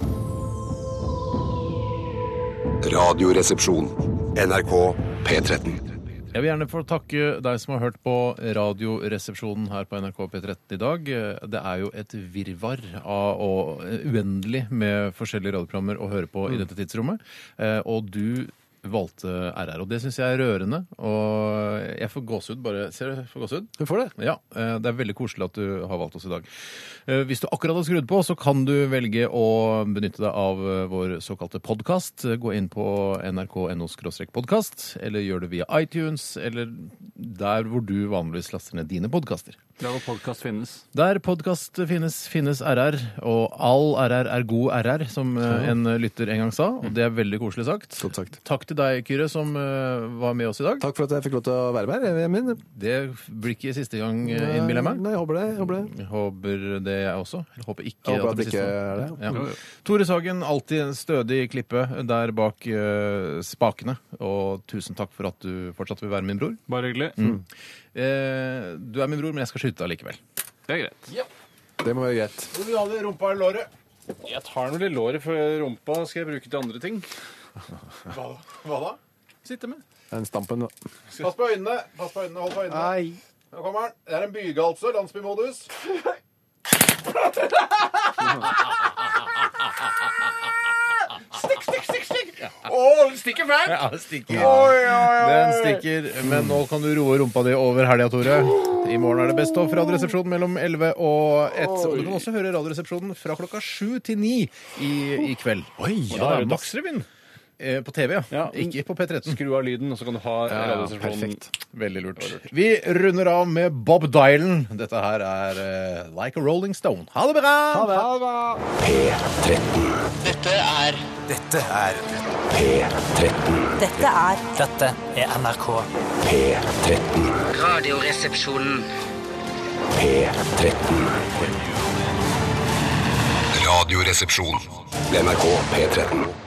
S5: Radioresepsjon. NRK P13.
S2: Jeg vil gjerne få takke deg som har hørt på Radioresepsjonen her på NRK P13 i dag. Det er jo et virvar av og uendelig med forskjellige radioprogrammer å høre på i dette tidsrommet. Eh, Og du valgte RR, og det syns jeg er rørende. Og jeg får gåsehud bare. Ser du, jeg får gåsehud?
S4: Du får det.
S2: Ja, eh, det er veldig koselig at du har valgt oss i dag. Eh, Hvis du akkurat har skrudd på, så kan du velge å benytte deg av eh, vår såkalte podkast. Gå inn på nrk.no-podkast, eller gjør det via iTunes, eller der hvor du vanligvis laster ned dine podkaster.
S3: Der hvor podkast finnes.
S2: Der podkast finnes, finnes RR, og all RR er god RR, som eh, en lytter en gang sa. Og det er veldig koselig sagt.
S4: Godt sagt.
S2: Takk til deg, Kyrre, som eh, var med oss i dag.
S4: Takk for at jeg fikk lov til å være med her. Emin.
S2: Det blir ikke siste gang, eh, innbiller jeg meg.
S4: Nei, jeg håper det. Jeg håper det.
S2: Jeg håper det, jeg også. Eller håper ikke.
S4: Jeg håper
S2: blir
S4: at det ikke
S2: siste.
S4: er det.
S2: Ja. Tore Sagen, alltid en stødig klippe der bak eh, spakene. Og tusen takk for at du fortsatt vil være min bror.
S3: Bare hyggelig.
S2: Mm.
S3: Mm.
S2: Eh, du er min bror, men jeg skal skyte deg likevel.
S3: Det er greit.
S4: Det må være greit.
S2: Hvor vil du ha det? Rumpa eller låret?
S3: Jeg tar den i låret, for rumpa skal jeg bruke til andre ting.
S2: Hva, da?
S3: Sitte med.
S4: Den stampen. da.
S2: Pass på øynene! Pass på øynene, Hold på øynene. Nå kommer han. Det er en byge, altså. Landsbymodus.
S8: stikk, stikk, stikk! stikk. Å, den stikker fælt!
S2: Ja, det stikker.
S8: Oi, oi, oi.
S2: Den stikker. Men nå kan du roe rumpa di over helga, Tore. I morgen er det Best of Radioresepsjonen mellom 11 og 1. Og du kan også høre Radioresepsjonen fra klokka 7 til 9 i, i kveld. Oi,
S3: da er det
S2: Dagsrevyen. Eh, På TV, ja.
S3: Ja.
S2: Ikke på P13.
S3: Skru av lyden, og så kan du ha
S2: Ja, ja,
S3: radiostasjonen.
S2: Veldig lurt. Vi runder av med Bob Dylan. Dette her er eh, Like a Rolling Stone. Ha det bra!
S10: Dette er
S5: P13.
S11: Dette er
S10: Dette er NRK.
S5: P13.
S11: Radioresepsjonen.
S5: P13.
S9: Radioresepsjon.
S5: NRK P13.